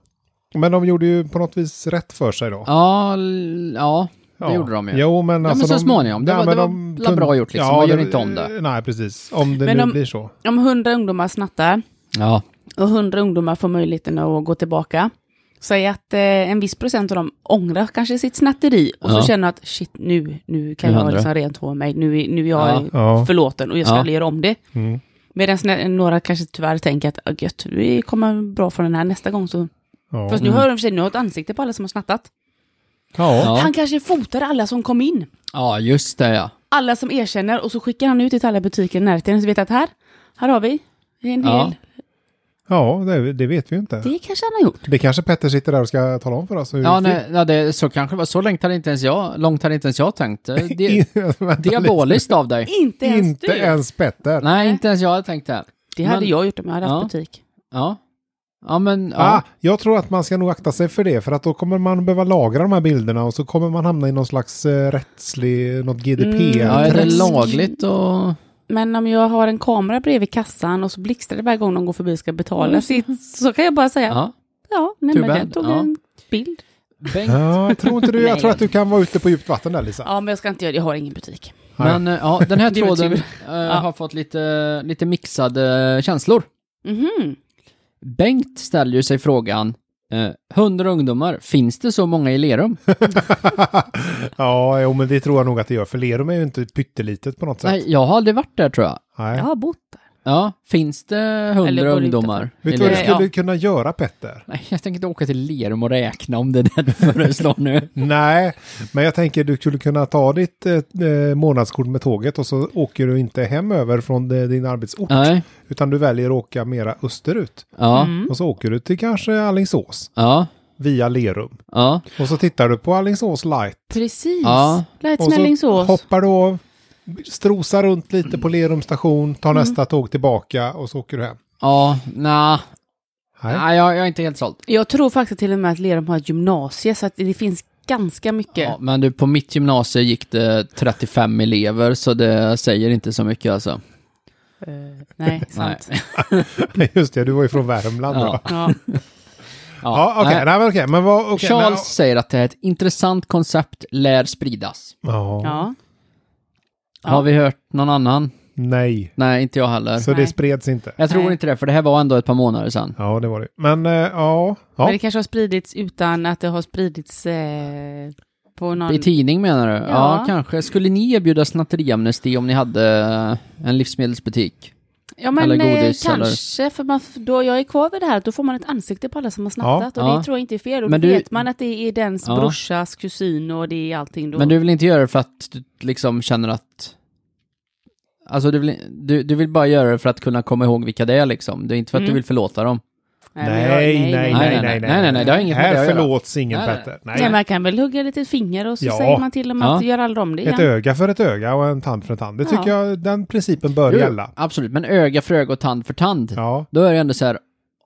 Men de gjorde ju på något vis rätt för sig då. Ja, l- ja, det gjorde de ju. Jo, men Ja, alltså men så de- småningom. Det var- det var la bra gjort liksom. Man gör inte om det. Nej, precis. Om det Men nu om- blir så. Om hundra ungdomar snattar Ja, och hundra ungdomar får möjligheten att gå tillbaka. Säg att eh, en viss procent av dem ångrar kanske sitt snatteri och Ja. så känner att shit nu, nu kan Nu jag händer liksom rent på mig, nu, är- nu är jag Ja. Ja. förlåten och jag ska Ja. aldrig göra om det. Mm. Medan nä- några kanske tyvärr tänker att "Ah, gött, vi kommer bra från den här nästa gång så. Ja. Fast nu hör de för sig, nu har ett ansikte på alla som har snattat. ja. Mm. Ja. Han kanske fotar alla som kom in. ja just det ja. alla som erkänner och så skickar han ut det till alla butiker i närheten. Så vet jag att här, här har vi en hel. Ja. Ja, det, det vet vi ju inte. Det... Det kanske han har gjort. kanske Petter sitter där och ska tala om för oss. Hur Ja, det nej, gick ja det, så kanske det var. Så långt hade inte ens jag, långt hade inte ens jag tänkt. Eh, Det, till. Vänta lite. diaboliskt av dig. Inte ens Inte du. ens Petter. Nej, inte ens jag hade tänkt det. Det hade Men- jag gjort om jag hade haft Ja. butik. Ja. Ja, men ja. Ah, jag tror att man ska nog akta sig för det, för att då kommer man behöva lagra de här bilderna och så kommer man hamna i någon slags eh, rättslig, något GDPR. ja är det träsk. lagligt och... Men om jag har en kamera bredvid kassan och så blixtrar det varje gång de går förbi och ska betala sitt, så kan jag bara säga, ja, Ja. nej Too men bad. den tog Ja. en bild. Bengt Ja, jag tror inte du, jag Nej. tror att du kan vara ute på djupt vatten där Lisa. Ja, men jag ska inte göra det, jag har ingen butik. Men eh, ja, den här Det är väl tråden tur. eh, har fått lite, lite mixade eh, känslor. Mhm. Bengt ställer ju sig frågan, eh, 100 ungdomar, finns det så många i Lerum? Ja, jo, men det tror jag nog att det gör, för Lerum är ju inte pyttelitet på något sätt. Nej, jag har aldrig varit där tror jag. Nej. Jag har bott där. Ja, finns det Eller 100 går det ungdomar Vet i du vad du Lerum? Ja. skulle kunna göra Petter? Nej, jag tänker inte åka till Lerum och räkna om det är det du föreslår nu. Nej, men jag tänker du skulle kunna ta ditt eh, eh, månadskort med tåget och så åker du inte hem över från eh, din arbetsort, Nej, utan du väljer att åka mera österut. ja, Mm. Och så åker du till kanske Allingsås ja, via Lerum. ja, Och så tittar du på Allingsås light. Precis. Ja. Lights Och så Mellingsås. hoppar du av, strosar runt lite på Lerum station, tar nästa tåg tillbaka och så åker du hem. ja, nja, Nej. nej, jag, jag är inte helt såld. Jag tror faktiskt till och med att Lerum har ett gymnasium, så att det finns ganska mycket. Ja, men du, på mitt gymnasium gick det 35 elever, så det säger inte så mycket alltså. Eh, nej, sant. Just det, du var ju från Värmland. Ja. Ja, Ja. ja okej, nej. nej men okej, men vad... okej, Charles säger att det här är ett intressant koncept, lär spridas. men, ja, ja. Ja. Har vi hört någon annan? Nej, Nej, inte jag heller. så Nej. det spreds inte. Jag tror Nej. inte det, för det här var ändå ett par månader sedan. Ja, det var det. Men eh, ja, Men det ja. kanske har spridits utan att det har spridits eh, på någon... I tidning menar du? Ja. Ja. kanske. Skulle ni erbjuda snatteriamnesti om ni hade eh, en livsmedelsbutik? ja, men eller godis, eh, kanske, för man, f- då jag är kvar vid det här, då får man ett ansikte på alla som har snattat. och ja. det tror jag inte är fel. Och Men då du- vet man att det är dens Ja. brorsas kusin och det är allting då. Men du vill inte göra det för att du liksom känner att... Alltså du vill, du, du vill bara göra det för att kunna komma ihåg vilka det är liksom. Det är inte för att du Mm. vill förlåta dem. Nej, Nej, men jag- nej, nej, nej, nej, nej, nej, nej, det har inget med det Här att göra. förlåts ingen Nej, nej. Petter. Nej, Nej. man kan väl hugga lite finger och så Ja. säger man till dem att Ja. göra aldrig om det Ett igen. öga för ett öga och en tand för en tand. Det Ja. tycker jag, den principen bör Jo, gälla. Absolut, men öga för öga och tand för tand. Ja, Då är det ändå så här,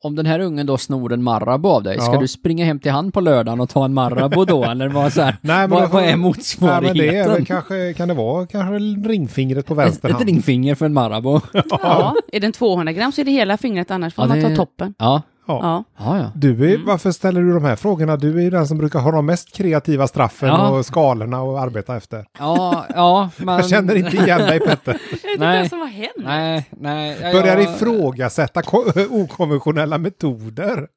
om den här ungen då snor en Marabou av dig, ska Ja. du springa hem till han på lördagen och ta en Marabou då? Eller vad, så här, Nej, men vad, alltså- vad är ja men motsvarigheten? det är väl kanske, kan det vara kanske ringfingret på ett, vänster ett hand? ringfinger för en Marabou. Ja, är den 200 gram så är det hela fingret, annars får Ja, man det- ta toppen. Ja, Ja. Ja. ja, Mm. ja. Du är, Varför ställer du de här frågorna? Du är ju den som brukar ha de mest kreativa straffen Ja. Um. och skalorna att arbeta efter. Ja, ja, men... Jag känner inte igen dig Petter. Jag vet inte Nej. vad som har hänt. Nej, nej. ja, Börjar jag- ifrågasätta ko- okonventionella metoder.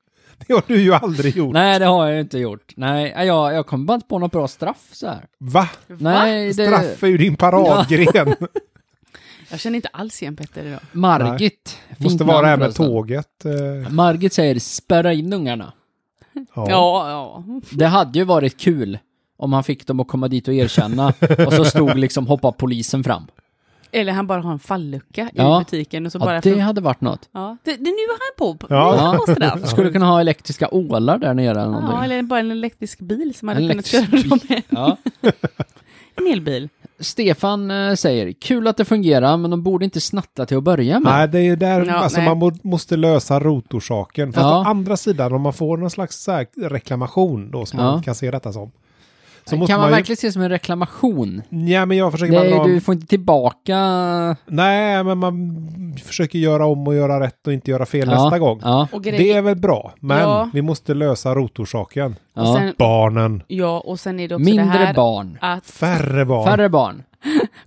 Det har du ju aldrig gjort. Nej, det har jag ju inte gjort. Nej, jag, jag kommer bara inte på något bra straff så här. Va? Nej, det... Straff är ju din paradgren. Jag känner inte alls igen Petter idag. Margit. Fint Måste namn vara det här med förresten. tåget. eh, Margit säger spärra in ungarna. Ja, ja. Det hade ju varit kul om han fick dem att komma dit och erkänna och så stod liksom hoppa polisen fram. Eller han bara har en fallucka Ja. i butiken och så bara... Ja, för- det hade varit något. ja. det, det, nu är han på, på, Ja. på straff. Skulle kunna ha elektriska ålar där nere eller Ja, någonting. eller bara en elektrisk bil som hade En kunnat köra elektrisk dem med. Ja. En elbil. Stefan eh, säger, kul att det fungerar men de borde inte snatta till att börja med. Nej, det är ju där Ja, alltså, nej. man må- måste lösa rotorsaken. Fast Ja. å andra sidan, om man får någon slags så här reklamation då, som Ja. man kan se detta som. Så måste kan man, man, ju... verkligen se det som en reklamation? Nej, men jag försöker... Nej, man, du får inte tillbaka... Nej, men man försöker göra om och göra rätt och inte göra fel Ja, nästa gång. Ja, Och, grej, Det är väl bra, men Ja. vi måste lösa rotorsaken. och, ja. sen, Barnen. ja, och sen är det också Mindre det här barn. att Färre barn. Färre barn.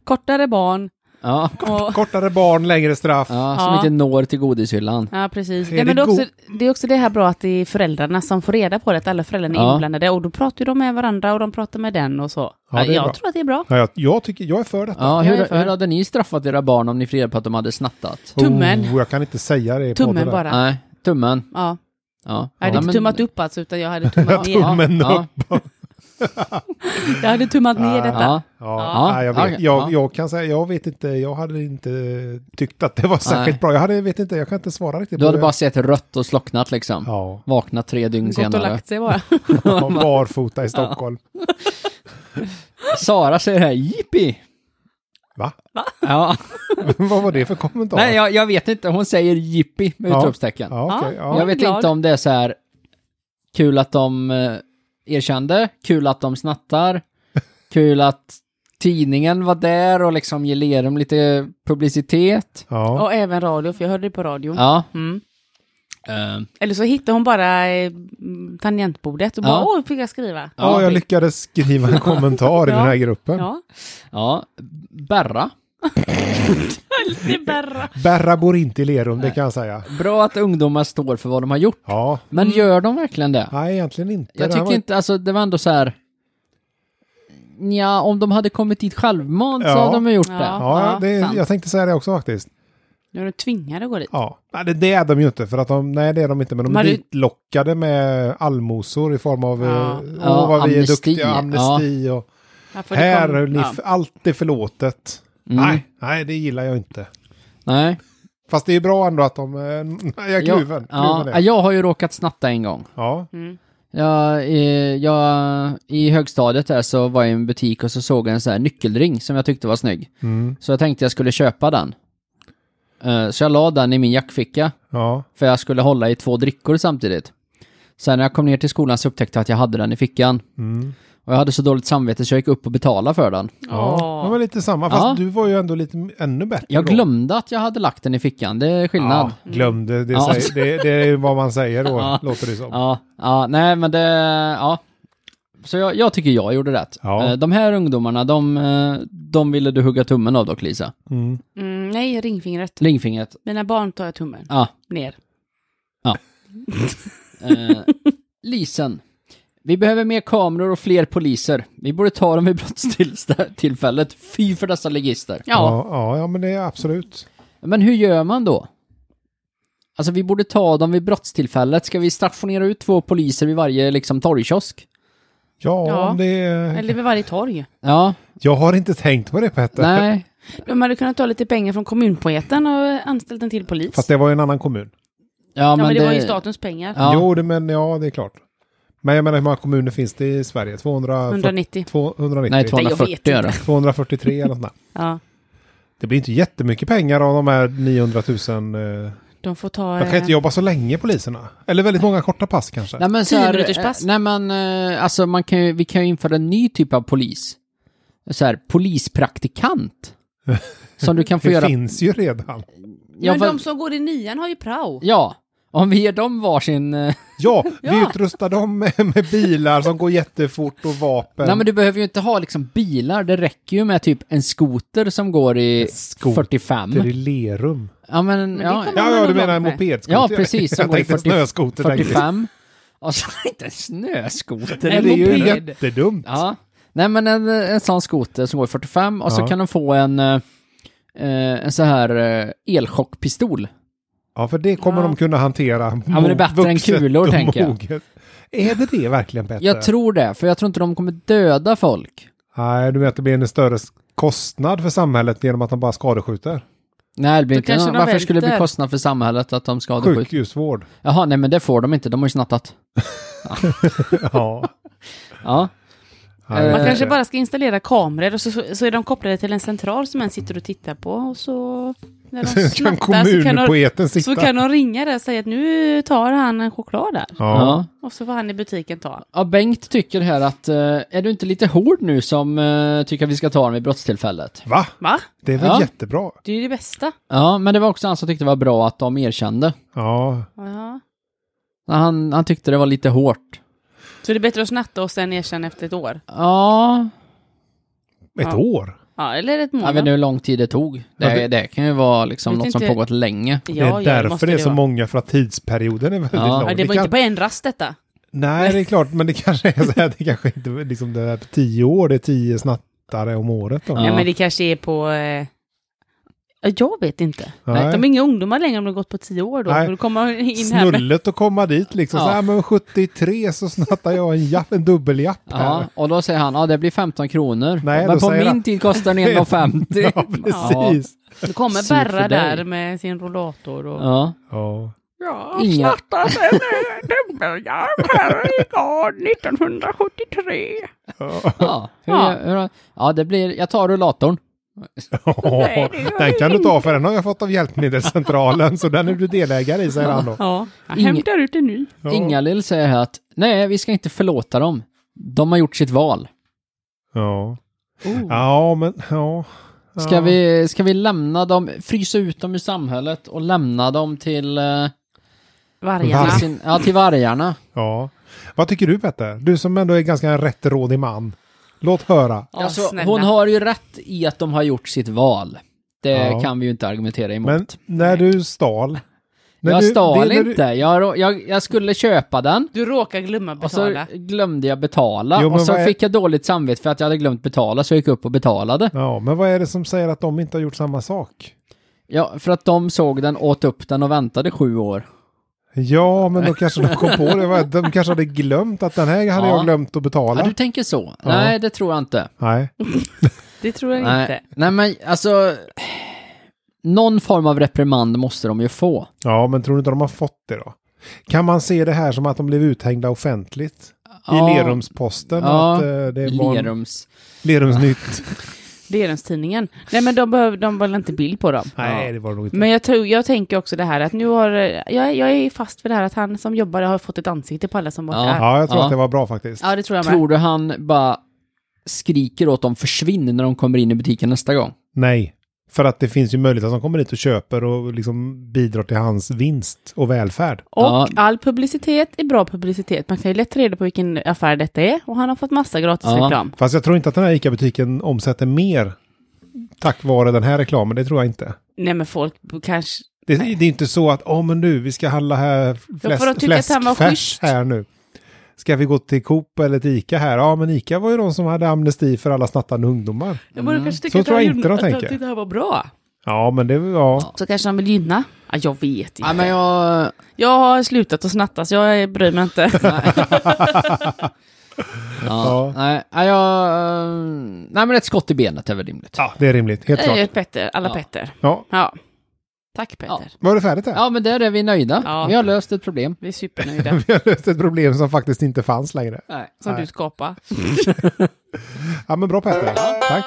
kortare barn Ja. och... Kortare barn, längre straff. Ja, som Ja. inte når till godishyllan. Ja, precis. Är Nej, men det, det är också, det är också det här bra att det är föräldrarna som får reda på det, att alla föräldrarna är Ja. inblandade. Och då pratar ju de med varandra och de pratar med den och så. Ja, det är jag bra. tror att det är bra. Ja, jag, jag, tycker, jag är för detta. Ja, Jag är hur, för. hur hade ni straffat era barn om ni fick reda på att de hade snattat? Tummen. Oh, jag kan inte säga det i podden Tummen där. bara. Nej, tummen. Ja. Ja. Jag hade ja, inte men- tummat upp alltså, utan jag hade tummat ner. Tummen upp. ja, Jag hade tummat ner detta. ja, Ja, Ja. nej, jag, Ja, vet, okej. jag, Ja. jag kan säga, jag vet inte, jag hade inte tyckt att det var särskilt Nej. bra. Jag hade, vet inte, jag kan inte svara riktigt Du på hade det. bara sett rött och slocknat liksom. Ja, Vaknat tre dygn Gått och senare. lagt sig bara. ja, barfota i Stockholm. Sara säger här, jippi! Va? Ja. Vad var det för kommentar? Nej, jag, jag vet inte. Hon säger jippi med Ja. utropstecken. Ja, okej, Ja. Jag ja. vet glad. inte om det är så här kul att de eh, erkände, kul att de snattar, kul att tidningen var där och liksom ge ler dem lite publicitet. Ja. Och även radio, för jag hörde det på radion. Ja. Mm. Eh, Eller så hittade hon bara eh, mm, tangentbordet och bara, Ja. åh, fick jag skriva. ja, jag det- lyckades skriva en kommentar i Ja. den här gruppen. Ja, ja. Berra. det är bara... Berra bor inte i Lerum, det kan jag säga. Bra att ungdomar står för vad de har gjort. Ja, Men Mm. gör de verkligen det? nej egentligen inte. Jag Det här tycker var- inte, alltså det var ändå så här. Ja, om de hade kommit dit självmant så Ja. hade de ju gjort det. Ja. Ja, det, sant. jag tänkte säga det också faktiskt. Nu är de tvingade att gå dit. Ja, nej, det, det är de ju inte för att de, nej det är de inte, men de Men är du- ditlockade med allmosor i form av, Ja. ja. åh Ja, vad vi är amnesti. duktiga, amnesti och Ja, för det här, kom- är ni, ja. f- allt är förlåtet. Mm. Nej, nej det gillar jag inte. Nej. Fast det är bra ändå att de, eh, jag är kluven. ja, kluven ja, är. jag har ju råkat snatta en gång. Ja, Mm. Jag, eh, jag, I högstadiet där så var jag i en butik och så såg jag en sån här nyckelring som jag tyckte var snygg. mm, Så jag tänkte jag skulle köpa den. Eh, Så jag la den i min jackficka. ja, För jag skulle hålla i två drickor samtidigt. Sen när jag kom ner till skolan så upptäckte jag att jag hade den i fickan. mm. Och jag hade så dåligt samvete så jag gick upp och betalade för den. Ja, Åh. det var lite samma. Fast Ja. du var ju ändå lite m- ännu bättre Jag då. glömde att jag hade lagt den i fickan, det är skillnad. Ja, glömde. Det, Ja. säger, det, det är vad man säger då, Ja. låter det som. Ja, ja, nej men det, ja. Så jag, jag tycker jag gjorde rätt. Ja. Eh, De här ungdomarna, de, eh, de ville du hugga tummen av dock Lisa. Mm. Mm, nej, ringfingret. Lingfingret. Mina barn tar jag tummen Ja. ner. Eh, Lisen. Vi behöver mer kameror och fler poliser. Vi borde ta dem vid brottstillfället. Fy för dessa legister. Ja, ja, ja, men det är absolut. Men hur gör man då? Alltså vi borde ta dem vid brottstillfället. Ska vi stationera ut två poliser vid varje liksom torgkiosk? Ja, Ja. Om det är... eller vid varje torg. Ja, Jag har inte tänkt på det Petter. nej. De hade kunnat ta lite pengar från kommunpoeten och eh, anställt en till polis. Fast det var ju en annan kommun. Ja, ja, men det, var ju statens pengar. Ja. Jo, det, men ja, det är klart. Men jag menar, hur många kommuner finns det i Sverige? 240, 190. 290? Nej, jag vet 240 inte. är det. 243 eller något sånt där. Ja. Det blir inte jättemycket pengar av de här 900 000. Eh, De får ta... eh, de kan inte jobba så länge poliserna. Eller väldigt många korta pass kanske. Nej men så Tio här, minuters eh, pass. Nej men eh, alltså man kan ju, vi kan ju införa en ny typ av polis. Så här, polispraktikant. Som du kan få det göra. finns ju redan. Ja, men för- de som går i nian har ju prao. ja, om vi ger dem varsin... eh, Ja, vi Ja. utrustar dem med, med bilar som går jättefort och vapen. Nej men du behöver ju inte ha liksom bilar, det räcker ju med typ en skoter som går i skoter. 45. Det är i Lerum. Ja men, det ja, kan man- Ja, men ja, de du menar en med. mopedskoter. ja precis, som Jag går i tänkte 40, snöskoter. tänkte jag. 45. Alltså inte en snöskoter. Det En är ju moped. jättedumt. Ja. Nej men en, en sån skoter som går i 45 och så Ja. kan de få en, eh, eh, en så här eh, elchockpistol. Ja, för det kommer Ja. de kunna hantera. men det är bättre än vuxet kulor, och tänker jag. moget. Är det det verkligen bättre? Jag tror det, för jag tror inte de kommer döda folk. Nej, du menar att det blir en större s- kostnad för samhället genom att de bara skadeskjuter? Nej, det blir Då inte. kanske de Varför skulle det bli välter. kostnad för samhället att de skadeskjuter? Sjukhusvård. Jaha, nej men det får de inte, de har ju snattat. ja. Ja. Nej, Man det Man är kanske det. bara ska installera kameror och så, så, så är de kopplade till en central som en sitter och tittar på och så när de Så kan snattar så kan, de, kommunpoeten så sitta. kan de ringa där och säga att nu tar han en choklad där. Ja. Ja. Och så får han i butiken ta den. ja, Bengt tycker här att eh, är du inte lite hård nu som eh, tycker att vi ska ta den vid brottstillfället? Va? Va? Det är väl Ja. jättebra? Det är ju det bästa. Ja, men det var också han som tyckte det var bra att de erkände. Ja. Ja. Han, han tyckte det var lite hårt. Så det är bättre att snatta och sen erkänna efter ett år? Ja, Ett Ja. år? Ja, eller ett jag vet månad. inte hur lång tid det tog. Det, Ja, det, det- kan ju vara liksom Vet något som inte- pågått länge. Det är därför det är så vara. många, för att tidsperioden är väldigt Ja. lång. Ja, det var kan... inte på en rast detta. Nej, det är klart, men det kanske är så här, det kanske inte liksom det är på tio år, det är tio snattare om året då. Ja. Ja, men det kanske är på... Eh... ja, Jag vet inte. Nej. De är inga ungdomar längre om de har gått på tio år då. Nej. För då kommer man in här med... Snullet att komma dit liksom. Ja. Så här, men 73 så snattar jag en, japp, en dubbeljapp Ja, här. och då säger han, ja det blir 15 kronor. Nej, men då på min säger han- tid kostar den 1,50. Ja, precis. Då kommer Synd för Berra dig. där med sin rollator och... Ja. Ja. Ja, Inga- startade med dubbeljarm här i går 1973. Ja, hur, Ja. Hur, ja det blir, jag tar rullatorn. Ja, den kan du ta för den har jag fått av hjälpmedelscentralen så den är du delägare i säger han då. Ja, jag Inge- hämtar ut en ny. Ja. Ingalill säger här att nej, vi ska inte förlåta dem. De har gjort sitt val. Ja. Oh. ja, men ja. Ska, Ja. vi, ska vi lämna dem, frysa ut dem ur samhället och lämna dem till, eh, Vargarna. till, sin, ja, till vargarna? Ja. Vad tycker du Petter? Du som ändå är ganska en rättrådig man. Låt höra. Ja, alltså, snälla. hon har ju rätt i att de har gjort sitt val. Det Ja. kan vi ju inte argumentera emot. Men när du stal. när jag du- stal det- när du- inte. Jag, rå- jag, jag skulle köpa den Du råkar glömma och så betala. glömde jag betala. Jo, och men så vad är- fick jag dåligt samvete för att jag hade glömt betala, så jag gick upp och betalade. Ja, men vad är det som säger att de inte har gjort samma sak? Ja, för att de såg den, åt upp den och väntade sju år. Ja, men då kanske de kom på det. Vad- De kanske hade glömt att den här hade Ja. jag glömt att Ja, betala. du tänker så. Nej, det tror jag inte. Nej. Det tror jag inte. Nej. Nej, men alltså... Någon form av reprimand måste de ju få. Ja, men tror du inte de har fått det då? Kan man se det här som att de blev uthängda offentligt? Ja. I Lerumsposten? Ja. Att, eh, det var en- Lerums. Lerumsnytt? Det är den tidningen. Nej, men de behöver de vill inte bild på dem. Nej, det var det nog inte. Men jag, tror, jag tänker också det här att nu har... eh, Jag, jag är fast för det här att han som jobbar har fått ett ansikte på alla som varit Ja. där. Ja, jag tror Ja. att det var bra faktiskt. Ja, det tror jag med. Tror du han bara skriker åt dem försvinn när de kommer in i butiken nästa gång? Nej, för att det finns ju möjlighet att de kommer dit och köper och liksom bidrar till hans vinst och välfärd. Och Ja. all publicitet är bra publicitet. Man kan ju lätt ta reda på vilken affär detta är. Och han har fått massa gratis Ja. reklam. Fast jag tror inte att den här ICA-butiken omsätter mer tack vare den här reklamen, det tror jag inte. Nej, men folk kanske... Det, det är ju inte så att, åh men du, vi ska handla här Ja, för de fläsk, tycker att han var fläskfärs schysst. här nu. Ska vi gå till Coop eller till ICA här? Ja, men ICA var ju de som hade amnesti för alla snattande ungdomar. Jag borde kanske Så tror jag inte de tänker. det här var bra. Ja, men det, ja. Så kanske de vill gynna? Ja, jag vet inte. Nej, men jag... Jag har slutat att snatta, så jag bryr mig inte. Ja. Nej, nej, jag... eh, Nej, men ett skott i benet är väl rimligt. ja, det är rimligt, helt Det är klart. ju Petter, alla Ja. Petter. Ja, Ja. Tack Petter. var det färdigt där? Ja, men där är vi nöjda. Ja. Vi har löst ett problem. Vi är supernöjda. Vi har löst ett problem som faktiskt inte fanns längre. Nej. Som du skapar. Ja, men bra Petter. Tack.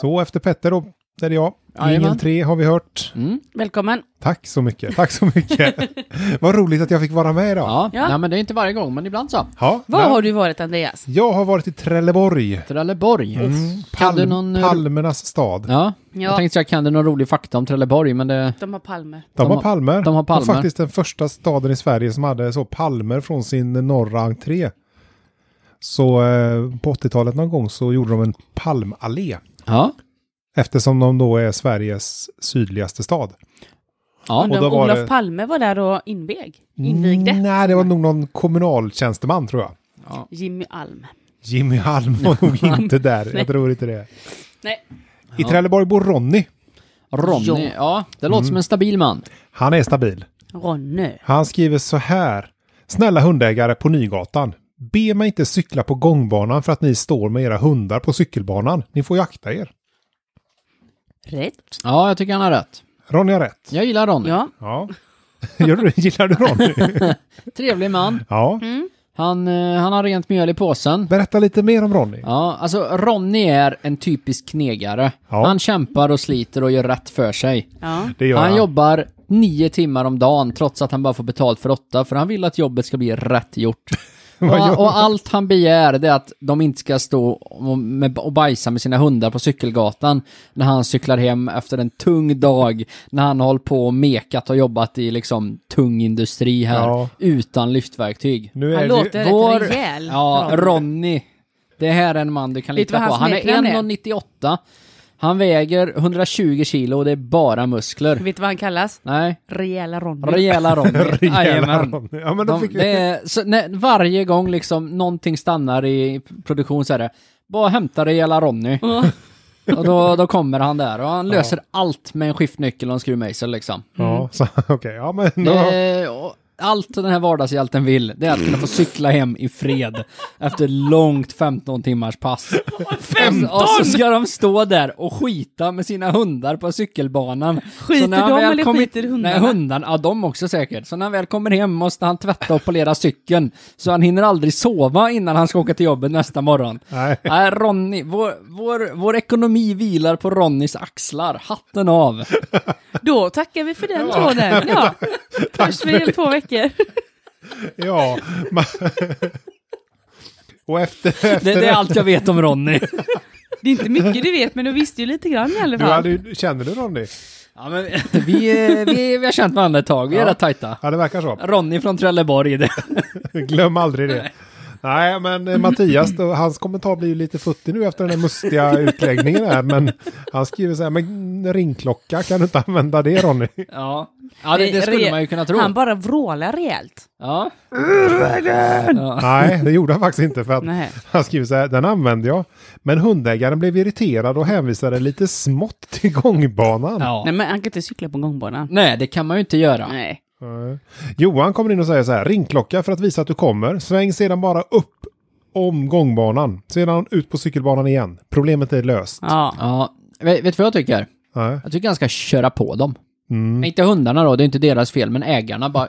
Så efter Petter då, är det jag. Jajamän. Jingel 3 har vi hört. Välkommen. Tack så mycket. Tack så mycket. Vad roligt att jag fick vara med idag. Ja. Ja. Nej, men det är inte varje gång, men ibland så. Ja, Var nej. har du varit Andreas? Jag har varit i Trelleborg. Trelleborg. Kan du Palm, någon... eh, palmernas stad. Ja. Jag Ja. tänkte säga, kan du någon rolig fakta om Trelleborg, men det... De har palmer. De, De har har- palmer. de har palmer. Det var faktiskt den första staden i Sverige som hade så palmer från sin norra entré. Så eh, på 80-talet någon gång så gjorde de en palmallé. Ja. Eftersom de då är Sveriges sydligaste stad. Ja. Undrar Och om då var Olof det- Mm. Palme var där och invig, invigde. Nej, det var nog någon kommunaltjänsteman tror jag. Jimmy Alm. Jimmy Halm var nog inte där. Jag tror inte det. Nej. I Trelleborg bor Ronny. Ronny, ja, det låter som en stabil man. Han är stabil. Ronny. Han skriver så här. Snälla hundägare på Nygatan. Be mig inte cykla på gångbanan för att ni står med era hundar på cykelbanan. Ni får ju akta er. Rätt. Ja, jag tycker han har rätt. Ronny har rätt. Jag gillar Ronny. Ja. Ja. Gör du- Gillar du Ronny? Trevlig man. Ja. Mm. Han, eh, han har rent mjöl i påsen. Berätta lite mer om Ronny. Ja, alltså Ronny är en typisk knegare. Ja. Han kämpar och sliter och gör rätt för sig. ja. Det gör han han. jobbar nio timmar om dagen trots att han bara får betalt för åtta för han vill att jobbet ska bli rätt gjort. Vad och, gör- och allt han begär det är att de inte ska stå och, med, och bajsa med sina hundar på cykelgatan när han cyklar hem efter en tung dag när han har hållit på och mekat och jobbat i liksom tung industri här Ja. utan lyftverktyg. Nu Han är låter det... rätt rejäl. Ja, Ronny. Det här är en man du kan Vet du lita vad på. hans Han är smeknamn är? 1,98. Han väger 120 kilo och det är bara muskler. Vet du vad han kallas? Nej, Rejäla Ronny. rejäla Ronny. Rejäla Jajamän. Ronny. Ja, men då De, fick det vi... är, så när, varje gång liksom någonting stannar i produktion så är det bara hämta rejäla Ronny. och då, då kommer han där och han löser allt med en skiftnyckel och en skruvmejsel liksom. Ja, så- okej. Ja, men... ja. Det, Eh, och allt den här vardagshjälten vill, det är att kunna få cykla hem i fred efter långt 15 timmars pass. 15! Och så ska de stå där och skita med sina hundar på cykelbanan. Skiter Så när han de väl eller kommit- skiter hundarna? Nej, hundarna, ja de också säkert. Så när han väl kommer hem måste han tvätta och polera cykeln. Så han hinner aldrig sova innan han ska åka till jobbet nästa morgon. Nej. Nej, Ronny, vår, vår, vår ekonomi vilar på Ronnys axlar. Hatten av. Då tackar vi för den tråden. Ja. Hörs vi om två veckor. ja. man- Och efter... efter Det, det är allt jag vet om Ronny. Det är inte mycket du vet, men du visste ju lite grann i alla Du fall. hade, ju- känner du Ronny? Ja, men vi, eh, vi, vi har känt varandra ett tag, vi är Ja. rätt tajta. Ja, det verkar så. Ronny från Trelleborg, det. Glöm aldrig det. Nej, men eh, Mattias, då, hans kommentar blir ju lite futtig nu efter den här mustiga utläggningen här. Men han skriver så här, men ringklocka, kan du inte använda det Ronny? Ja, ja det, det skulle man ju kunna tro. Han bara vrålar rejält. Ja. Nej, det gjorde han faktiskt inte. För att Nej. han skriver så här, den använde jag. Men hundägaren blev irriterad och hänvisade lite smått till gångbanan. ja. Nej, men han kan inte cykla på gångbanan. Nej, det kan man ju inte göra. Nej. Nej. Johan kommer in och säger så här, ringklocka för att visa att du kommer. Sväng sedan bara upp om gångbanan. Sedan ut på cykelbanan igen. Problemet är löst. Ja. Ja. Vet vet du vad jag tycker? Nej. Jag tycker han ska köra på dem. Mm. Inte hundarna då, det är inte deras fel, men ägarna bara...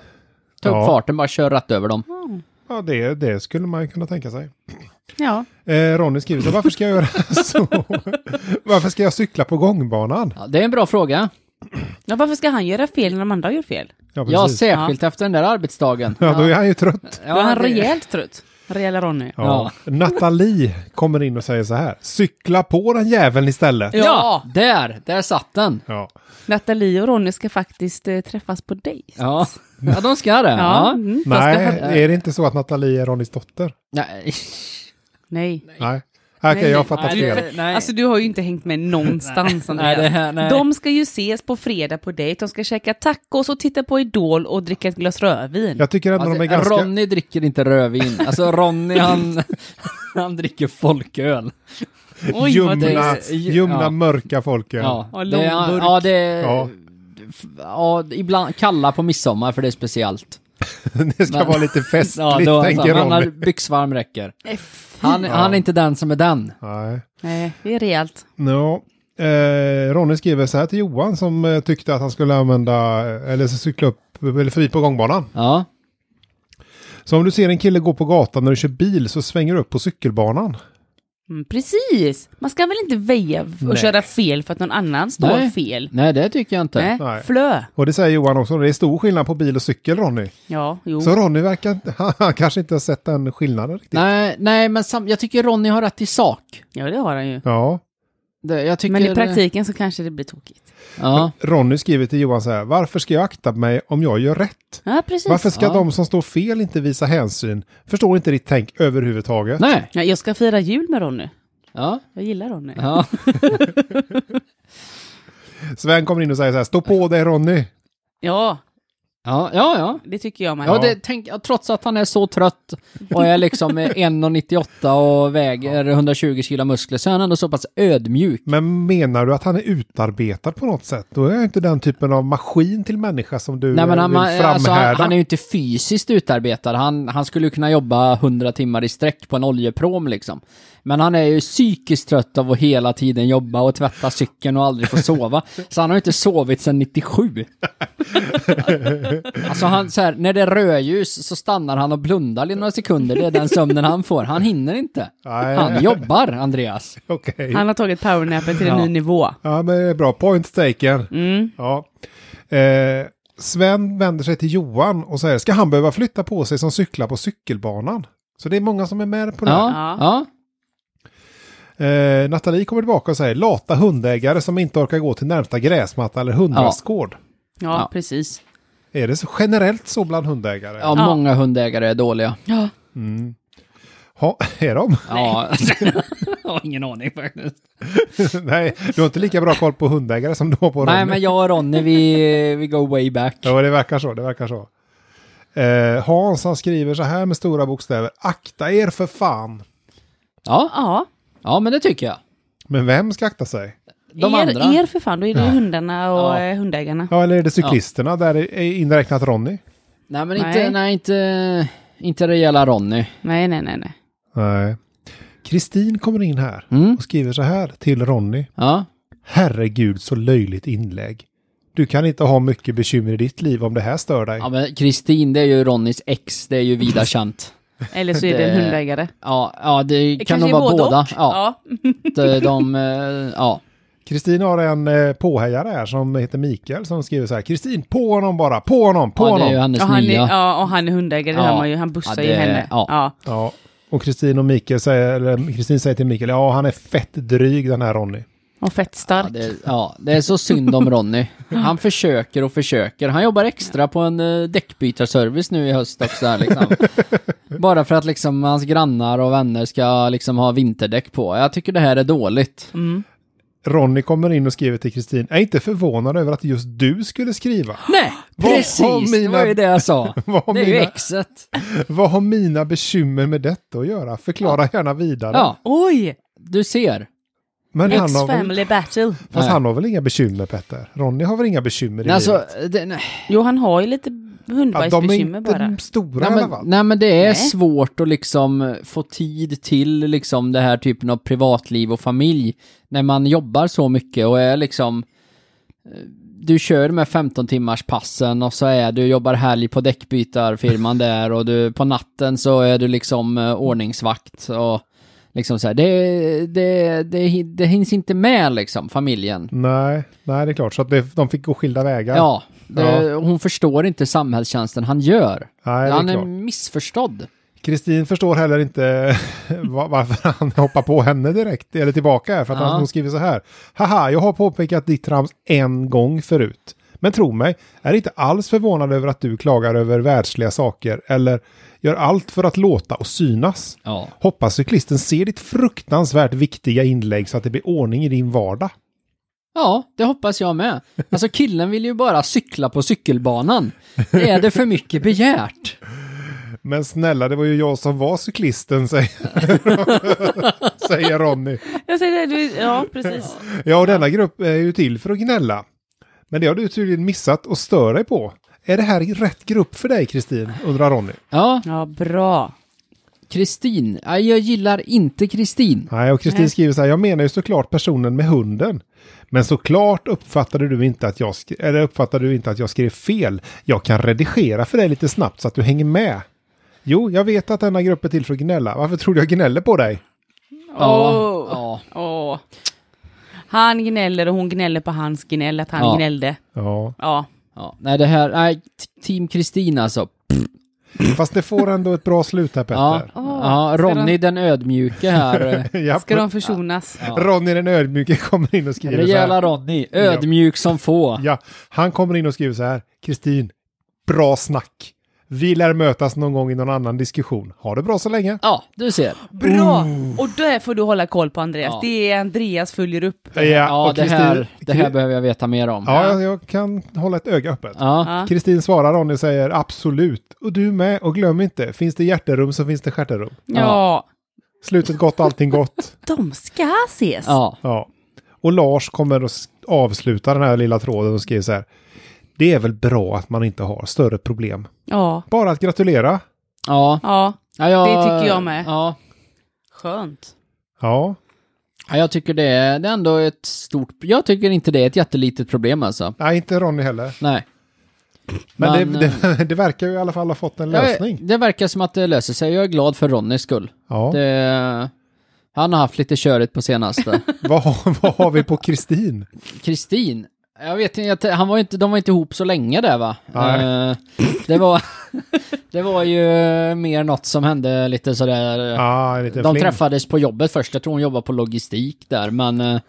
Ta upp Ja. farten, bara kör rätt över dem. Ja, det, det skulle man ju kunna tänka sig. ja. Eh, Ronny skriver så, varför ska jag göra så? varför ska jag cykla på gångbanan? Ja, det är en bra fråga. Ja, varför ska han göra fel när de andra gör fel? Ja, Ja, precis. särskilt efter den där arbetsdagen. Ja, då är han ju trött. Då är han det- rejält trött. Rejäla Ronny. Ja. Nathalie kommer in och säger så här, cykla på den jäveln istället. Ja. Ja, där! Där satt den. Ja. Nathalie och Ronny ska faktiskt eh, träffas på dig. Ja, ja de ska det. Ja. Ja. Mm. Nej, är det inte så att Nathalie är Ronnys dotter? Nej. Nej. Nej. Okej, Nej, jag har fattat nej, fel. det- nej. Alltså du har ju inte hängt med någonstans Nej, Andreas. det här- nej. De ska ju ses på fredag på dejt, de ska käka tacos och titta på Idol och dricka ett glas rödvin. Jag tycker ändå de är Alltså, ganska... Ronny dricker inte rödvin. Alltså Ronny han, han dricker folköl. Oj, vad ljumna, trist. det- ljumna ja. mörka folk. Ja, Och det, är- långburk. ja, det, Ja. ja. ja, ibland kalla på midsommar för det är speciellt. det ska Men- vara lite festligt, Ja, då, alltså, tänker han har Ronny. byxvarm räcker. Nej, fy. Han, han är inte den som är den. Nej. Nej, det är rejält. Ja. Eh, Ronny skriver så här till Johan som eh, tyckte att han skulle använda, eh, eller cykla upp, eller förbi på gångbanan. Ja. Så om du ser en kille gå på gatan när du kör bil så svänger du upp på cykelbanan. Mm, precis! Man ska väl inte väja och Nej. köra fel för att någon annan står Nej. fel? Nej, det tycker jag inte. Nej. Nej. Flö. Och det säger Johan också, det är stor skillnad på bil och cykel Ronny. Ja, jo. Så Ronny verkar inte- han kanske inte har sett den skillnaden riktigt. Nej, nej men sam, jag tycker Ronny har rätt i sak. Ja, det har han ju. Ja. Det, jag tycker, Men i praktiken så kanske det blir tokigt. Ja. Ronny skriver till Johan så här, varför ska jag akta mig om jag gör rätt? Ja, precis. Varför ska Ja. de som står fel inte visa hänsyn? Förstår inte ditt tänk överhuvudtaget. Nej. Ja, jag ska fira jul med Ronny. Ja. Jag gillar Ronny. Ja. Sven kommer in och säger så här, stå på dig Ronny. Ja, Ja, ja, ja. det tycker jag med. Ja, det, tänk, ja, trots att han är så trött och är liksom 1,98 och väger 120 kilo muskler så är han ändå så pass ödmjuk. Men menar du att han är utarbetad på något sätt? Då är jag inte den typen av maskin till människa som du Nej, men han, vill alltså, framhärda. han, han är ju inte fysiskt utarbetad. Han, han skulle ju kunna jobba 100 timmar i sträck på en oljeprom liksom. Men han är ju psykiskt trött av att hela tiden jobba och tvätta cykeln och aldrig få sova. Så han har ju inte sovit sedan 97. Alltså han, så här, när det är rödljus så stannar han och blundar i några sekunder. Det är den sömnen han får. Han hinner inte. Nej. Han jobbar, Andreas. Okej. Han har tagit powernappen till en Ja. ny nivå. Ja, men det är bra. Point taken. Mm. Ja. Eh, Sven vänder sig till Johan och säger, ska han behöva flytta på sig som cyklar på cykelbanan? Så det är många som är med på det. här. Ja, Ja. ja. Eh, Nathalie kommer tillbaka och säger, lata hundägare som inte orkar gå till närmsta gräsmatta eller hundrastgård. Ja, Ja. precis. Är det så generellt så bland hundägare? ja, Ja. många hundägare är dåliga. Ja. Ha, är de? Ja, jag har ingen aning faktiskt. Nej, du har inte lika bra koll på hundägare som du har på Nej, Ronny. men jag och Ronny, vi, vi går way back. Ja, det verkar så. Det verkar så. Eh, Hans han skriver så här med stora bokstäver. Akta er för fan. Ja, ja. ja men det tycker jag. Men vem ska akta sig? De er, andra. er för fan, då är det ju hundarna och Ja. eh, hundägarna. Ja, eller är det cyklisterna? Där är inräknat Ronny. Nej, men inte, nej. Nej. inte, inte rejäla Ronny. Nej, nej, nej, nej. Nej. Kristin kommer in här Mm. och skriver så här till Ronny. Ja. Herregud, så löjligt inlägg. Du kan inte ha mycket bekymmer i ditt liv om det här stör dig. ja, men Kristin, det är ju Ronnys ex, det är ju vida känt. Eller så är det en Det- hundägare. Ja, ja det Det kan kanske nog är vara både båda. och. Ja, de, de, eh, ja. Kristin har en eh, påhejare här som heter Mikael som skriver så här. Kristin, på honom bara! På honom! På ja, det är ju honom! hennes Och han, är, nya. ja, och han är hundägare, det Ja. hör man ju. Han bussar Ja, ju det- henne. ja. Ja. Ja, och Kristin och Mikael säger, eller Kristin säger till Mikael, ja han är fett dryg den här Ronny. Och fett stark. Ja det, ja, det är så synd om Ronny. Han försöker och försöker. Han jobbar extra på en eh, däckbytarservice nu i höst också här liksom. Bara för att liksom hans grannar och vänner ska liksom ha vinterdäck på. Jag tycker det här är dåligt. Ronny kommer in och skriver till Kristin, är inte förvånad över att just du skulle skriva. Nej, Vad har precis! Det mina- var ju det jag sa. Vad har Det är ju mina- exet. Vad har mina bekymmer med detta att göra? Förklara gärna vidare. Ja, Oj! du ser. Men han har, väl, Ex-family battle. fast Nej. han har väl inga bekymmer Petter? Ronny har väl inga bekymmer i Alltså, livet? det, nej, Jo, han har ju lite Ja, de är hundbajsbekymmer inte bara. stora nej, i alla fall. men, nej men det är Nej. svårt att liksom få tid till liksom det här typen av privatliv och familj. När man jobbar så mycket och är liksom eh, du kör med 15 timmars passen och så är du jobbar helg på däckbytarfirman där och du på natten så är du liksom eh, ordningsvakt och liksom så här. Det, det, det, det hinns inte med liksom familjen. Nej, nej, det är klart. Så att det, de fick gå skilda vägar. Ja, det, hon förstår inte samhällstjänsten han gör. Nej, det är han är klart. missförstådd. Kristin förstår heller inte va- varför han hoppar på henne direkt, eller tillbaka här, för att Ja. han, hon skriver så här. Haha, jag har påpekat ditt trams en gång förut. Men tro mig, är inte alls förvånad över att du klagar över världsliga saker eller gör allt för att låta och synas. Ja. Hoppas cyklisten ser ditt fruktansvärt viktiga inlägg så att det blir ordning i din vardag. Ja, det hoppas jag med. Alltså killen vill ju bara cykla på cykelbanan. Det är det för mycket begärt. Men snälla, det var ju jag som var cyklisten, säger, säger Ronny. Jag säger det, du, ja precis. Ja, och denna grupp är ju till för att gnälla. Men det har du tydligen missat och stör dig på. Är det här rätt grupp för dig, Kristin? undrar Ronny. Ja, Ja, bra. Kristin. Nej, jag gillar inte Kristin. Nej, och Kristin skriver så här, jag menar ju såklart personen med hunden. Men såklart uppfattade du inte att jag, sk- eller uppfattade du inte att jag skrev fel. Jag kan redigera för dig lite snabbt så att du hänger med. Jo, jag vet att denna grupp är till för att gnälla. Varför tror du jag gnäller på dig? Ja, Åh. ja. Åh. Han gnäller och hon gnäller på hans gnäll, att han Ja. gnällde. Ja, Ja. ja. Nej, det här... Nej, t- Team Kristin alltså. fast det får ändå ett bra slut här, Ja, Petter. ja Ronny den ödmjuke här. Ja. Ska de försonas? Ja. Ronny den ödmjuke kommer in och skriver så här. Rejäla Ronny. Ödmjuk som få. Ja, han kommer in och skriver så här. Kristin, bra snack. Vi lär mötas någon gång i någon annan diskussion. Ha det bra så länge. Ja, du ser. Bra! Och där får du hålla koll på Andreas. Ja. Det är Andreas följer upp. Ja, Ja, och det här, Kristin- det här behöver jag veta mer om. Ja, jag- jag kan hålla ett öga öppet. Ja. Ja. Kristin svarar Ronny och säger absolut. Och du med. Och glöm inte, finns det hjärterum så finns det stjärterum. ja. Slutet gott, allting gott. De ska ses. ja. Ja. Och Lars kommer att s- avsluta den här lilla tråden och skriver så här. Det är väl bra att man inte har större problem. Ja. Bara att gratulera. Ja. Ja. ja jag, Det tycker jag med. Ja. Skönt. Ja, ja, jag tycker det är, det är ändå ett stort... Jag tycker inte det är ett jättelitet problem alltså. nej inte Ronny heller. Nej. Men, Men, eh, det, det, det verkar ju i alla fall ha fått en lösning. Jag, det verkar som att det löser sig. Jag är glad för Ronnys skull. Ja. Det, han har haft lite körigt på senaste. Vad, har- vad har vi på Kristin? Kristin. Jag vet inte, jag t- han var ju inte, de var inte ihop så länge där va? Nej. Eh, det, var, det var ju mer något som hände lite sådär. eh, Ja, Ah, en liten de fling. träffades på jobbet först, jag tror hon jobbade på logistik där, men eh,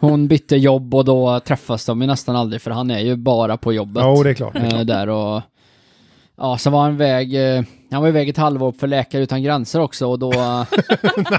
hon bytte jobb och då träffas de ju nästan aldrig för han är ju bara på jobbet. Jo, det är klart. Eh, där och... Ja, så var han väg... Eh, han var iväg ett halvår för Läkare Utan Gränser också och då... eh,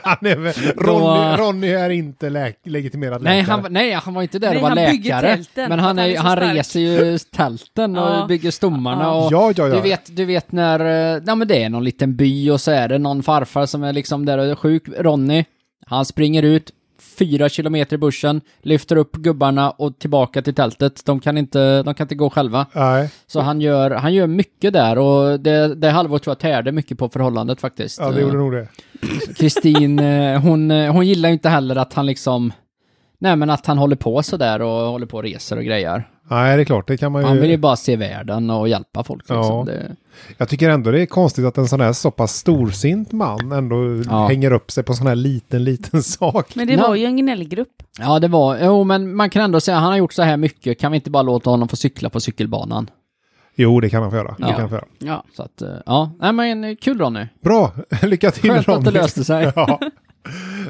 Han är väl, Ronny, Ronny är inte läk, legitimerad nej, läkare. han, nej, han var inte där Nej, och var han bygger läkare. tälten, men för han, att han är, är så han stark. reser ju tälten och Ja. bygger stommarna Ja. och... Ja, ja, ja. Du vet, du vet när... eh, Nej, men det är någon liten by och så är det någon farfar som är liksom där och är sjuk. Ronny, han springer ut fyra kilometer i bussen, lyfter upp gubbarna och tillbaka till tältet. De kan inte, de kan inte gå själva. Nej, Så han gör, han gör mycket där och det, det halvåret tror jag tärde mycket på förhållandet faktiskt. ja, det gjorde nog det. Kristin, eh, hon, eh, hon gillar ju inte heller att han liksom, nej men att han håller på sådär och håller på och reser och grejer. Nej, det är klart. Det kan man ju... Han vill ju bara se världen och hjälpa folk liksom. Eh. Ja. Det, Jag tycker ändå det är konstigt att en sån här så pass storsint man ändå Ja. hänger upp sig på sån här liten, liten sak. Men det Ja. var ju en gnällgrupp. ja det var, jo men man kan ändå säga, han har gjort så här mycket, kan vi inte bara låta honom få cykla på cykelbanan? Jo, det kan han få göra. Det Ja. kan han få göra. Ja. Så att, eh, ja, nej men eh, kul Ronny. Bra, lycka till Skönt att det Ronny. löste sig. ja.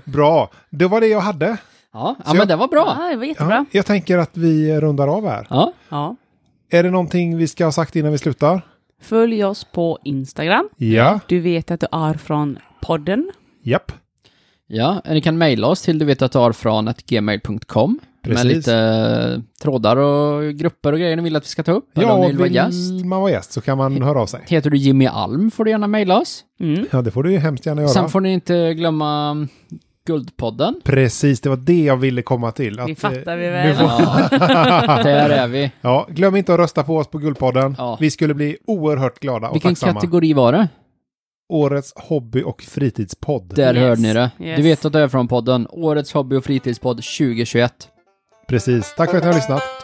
Bra, det var det jag hade. Ja, ja men det var bra. ja, det var Ja, jättebra. jag tänker att vi rundar av här. Ja, Ja. Är det någonting vi ska ha sagt innan vi slutar? Följ oss på Instagram. Ja. Du vet att du är från podden. Japp. ja, ni kan mejla oss till du vet att från ett gmail.com. Med Precis. lite eh, trådar och grupper och grejer ni vill att vi ska ta upp. eller Ja, om ni och vill vara gäst. vill man vara gäst så kan man höra av sig. Heter du Jimmy Alm får du gärna mejla oss. Mm. Ja, det får du ju hemskt gärna göra. Sen får ni inte glömma mm, Guldpodden. Precis, det var det jag ville komma till. Det Att, fattar eh, vi väl. Ja, där är vi. Ja, glöm inte att rösta på oss på Guldpodden. Ja. Vi skulle bli oerhört glada och Vilken tacksamma. kategori var det? Årets hobby och fritidspodd. Där Yes, hörde ni det. yes. Du vet att det är från podden. Årets hobby och fritidspodd 2021. Precis. Tack för att ni har lyssnat.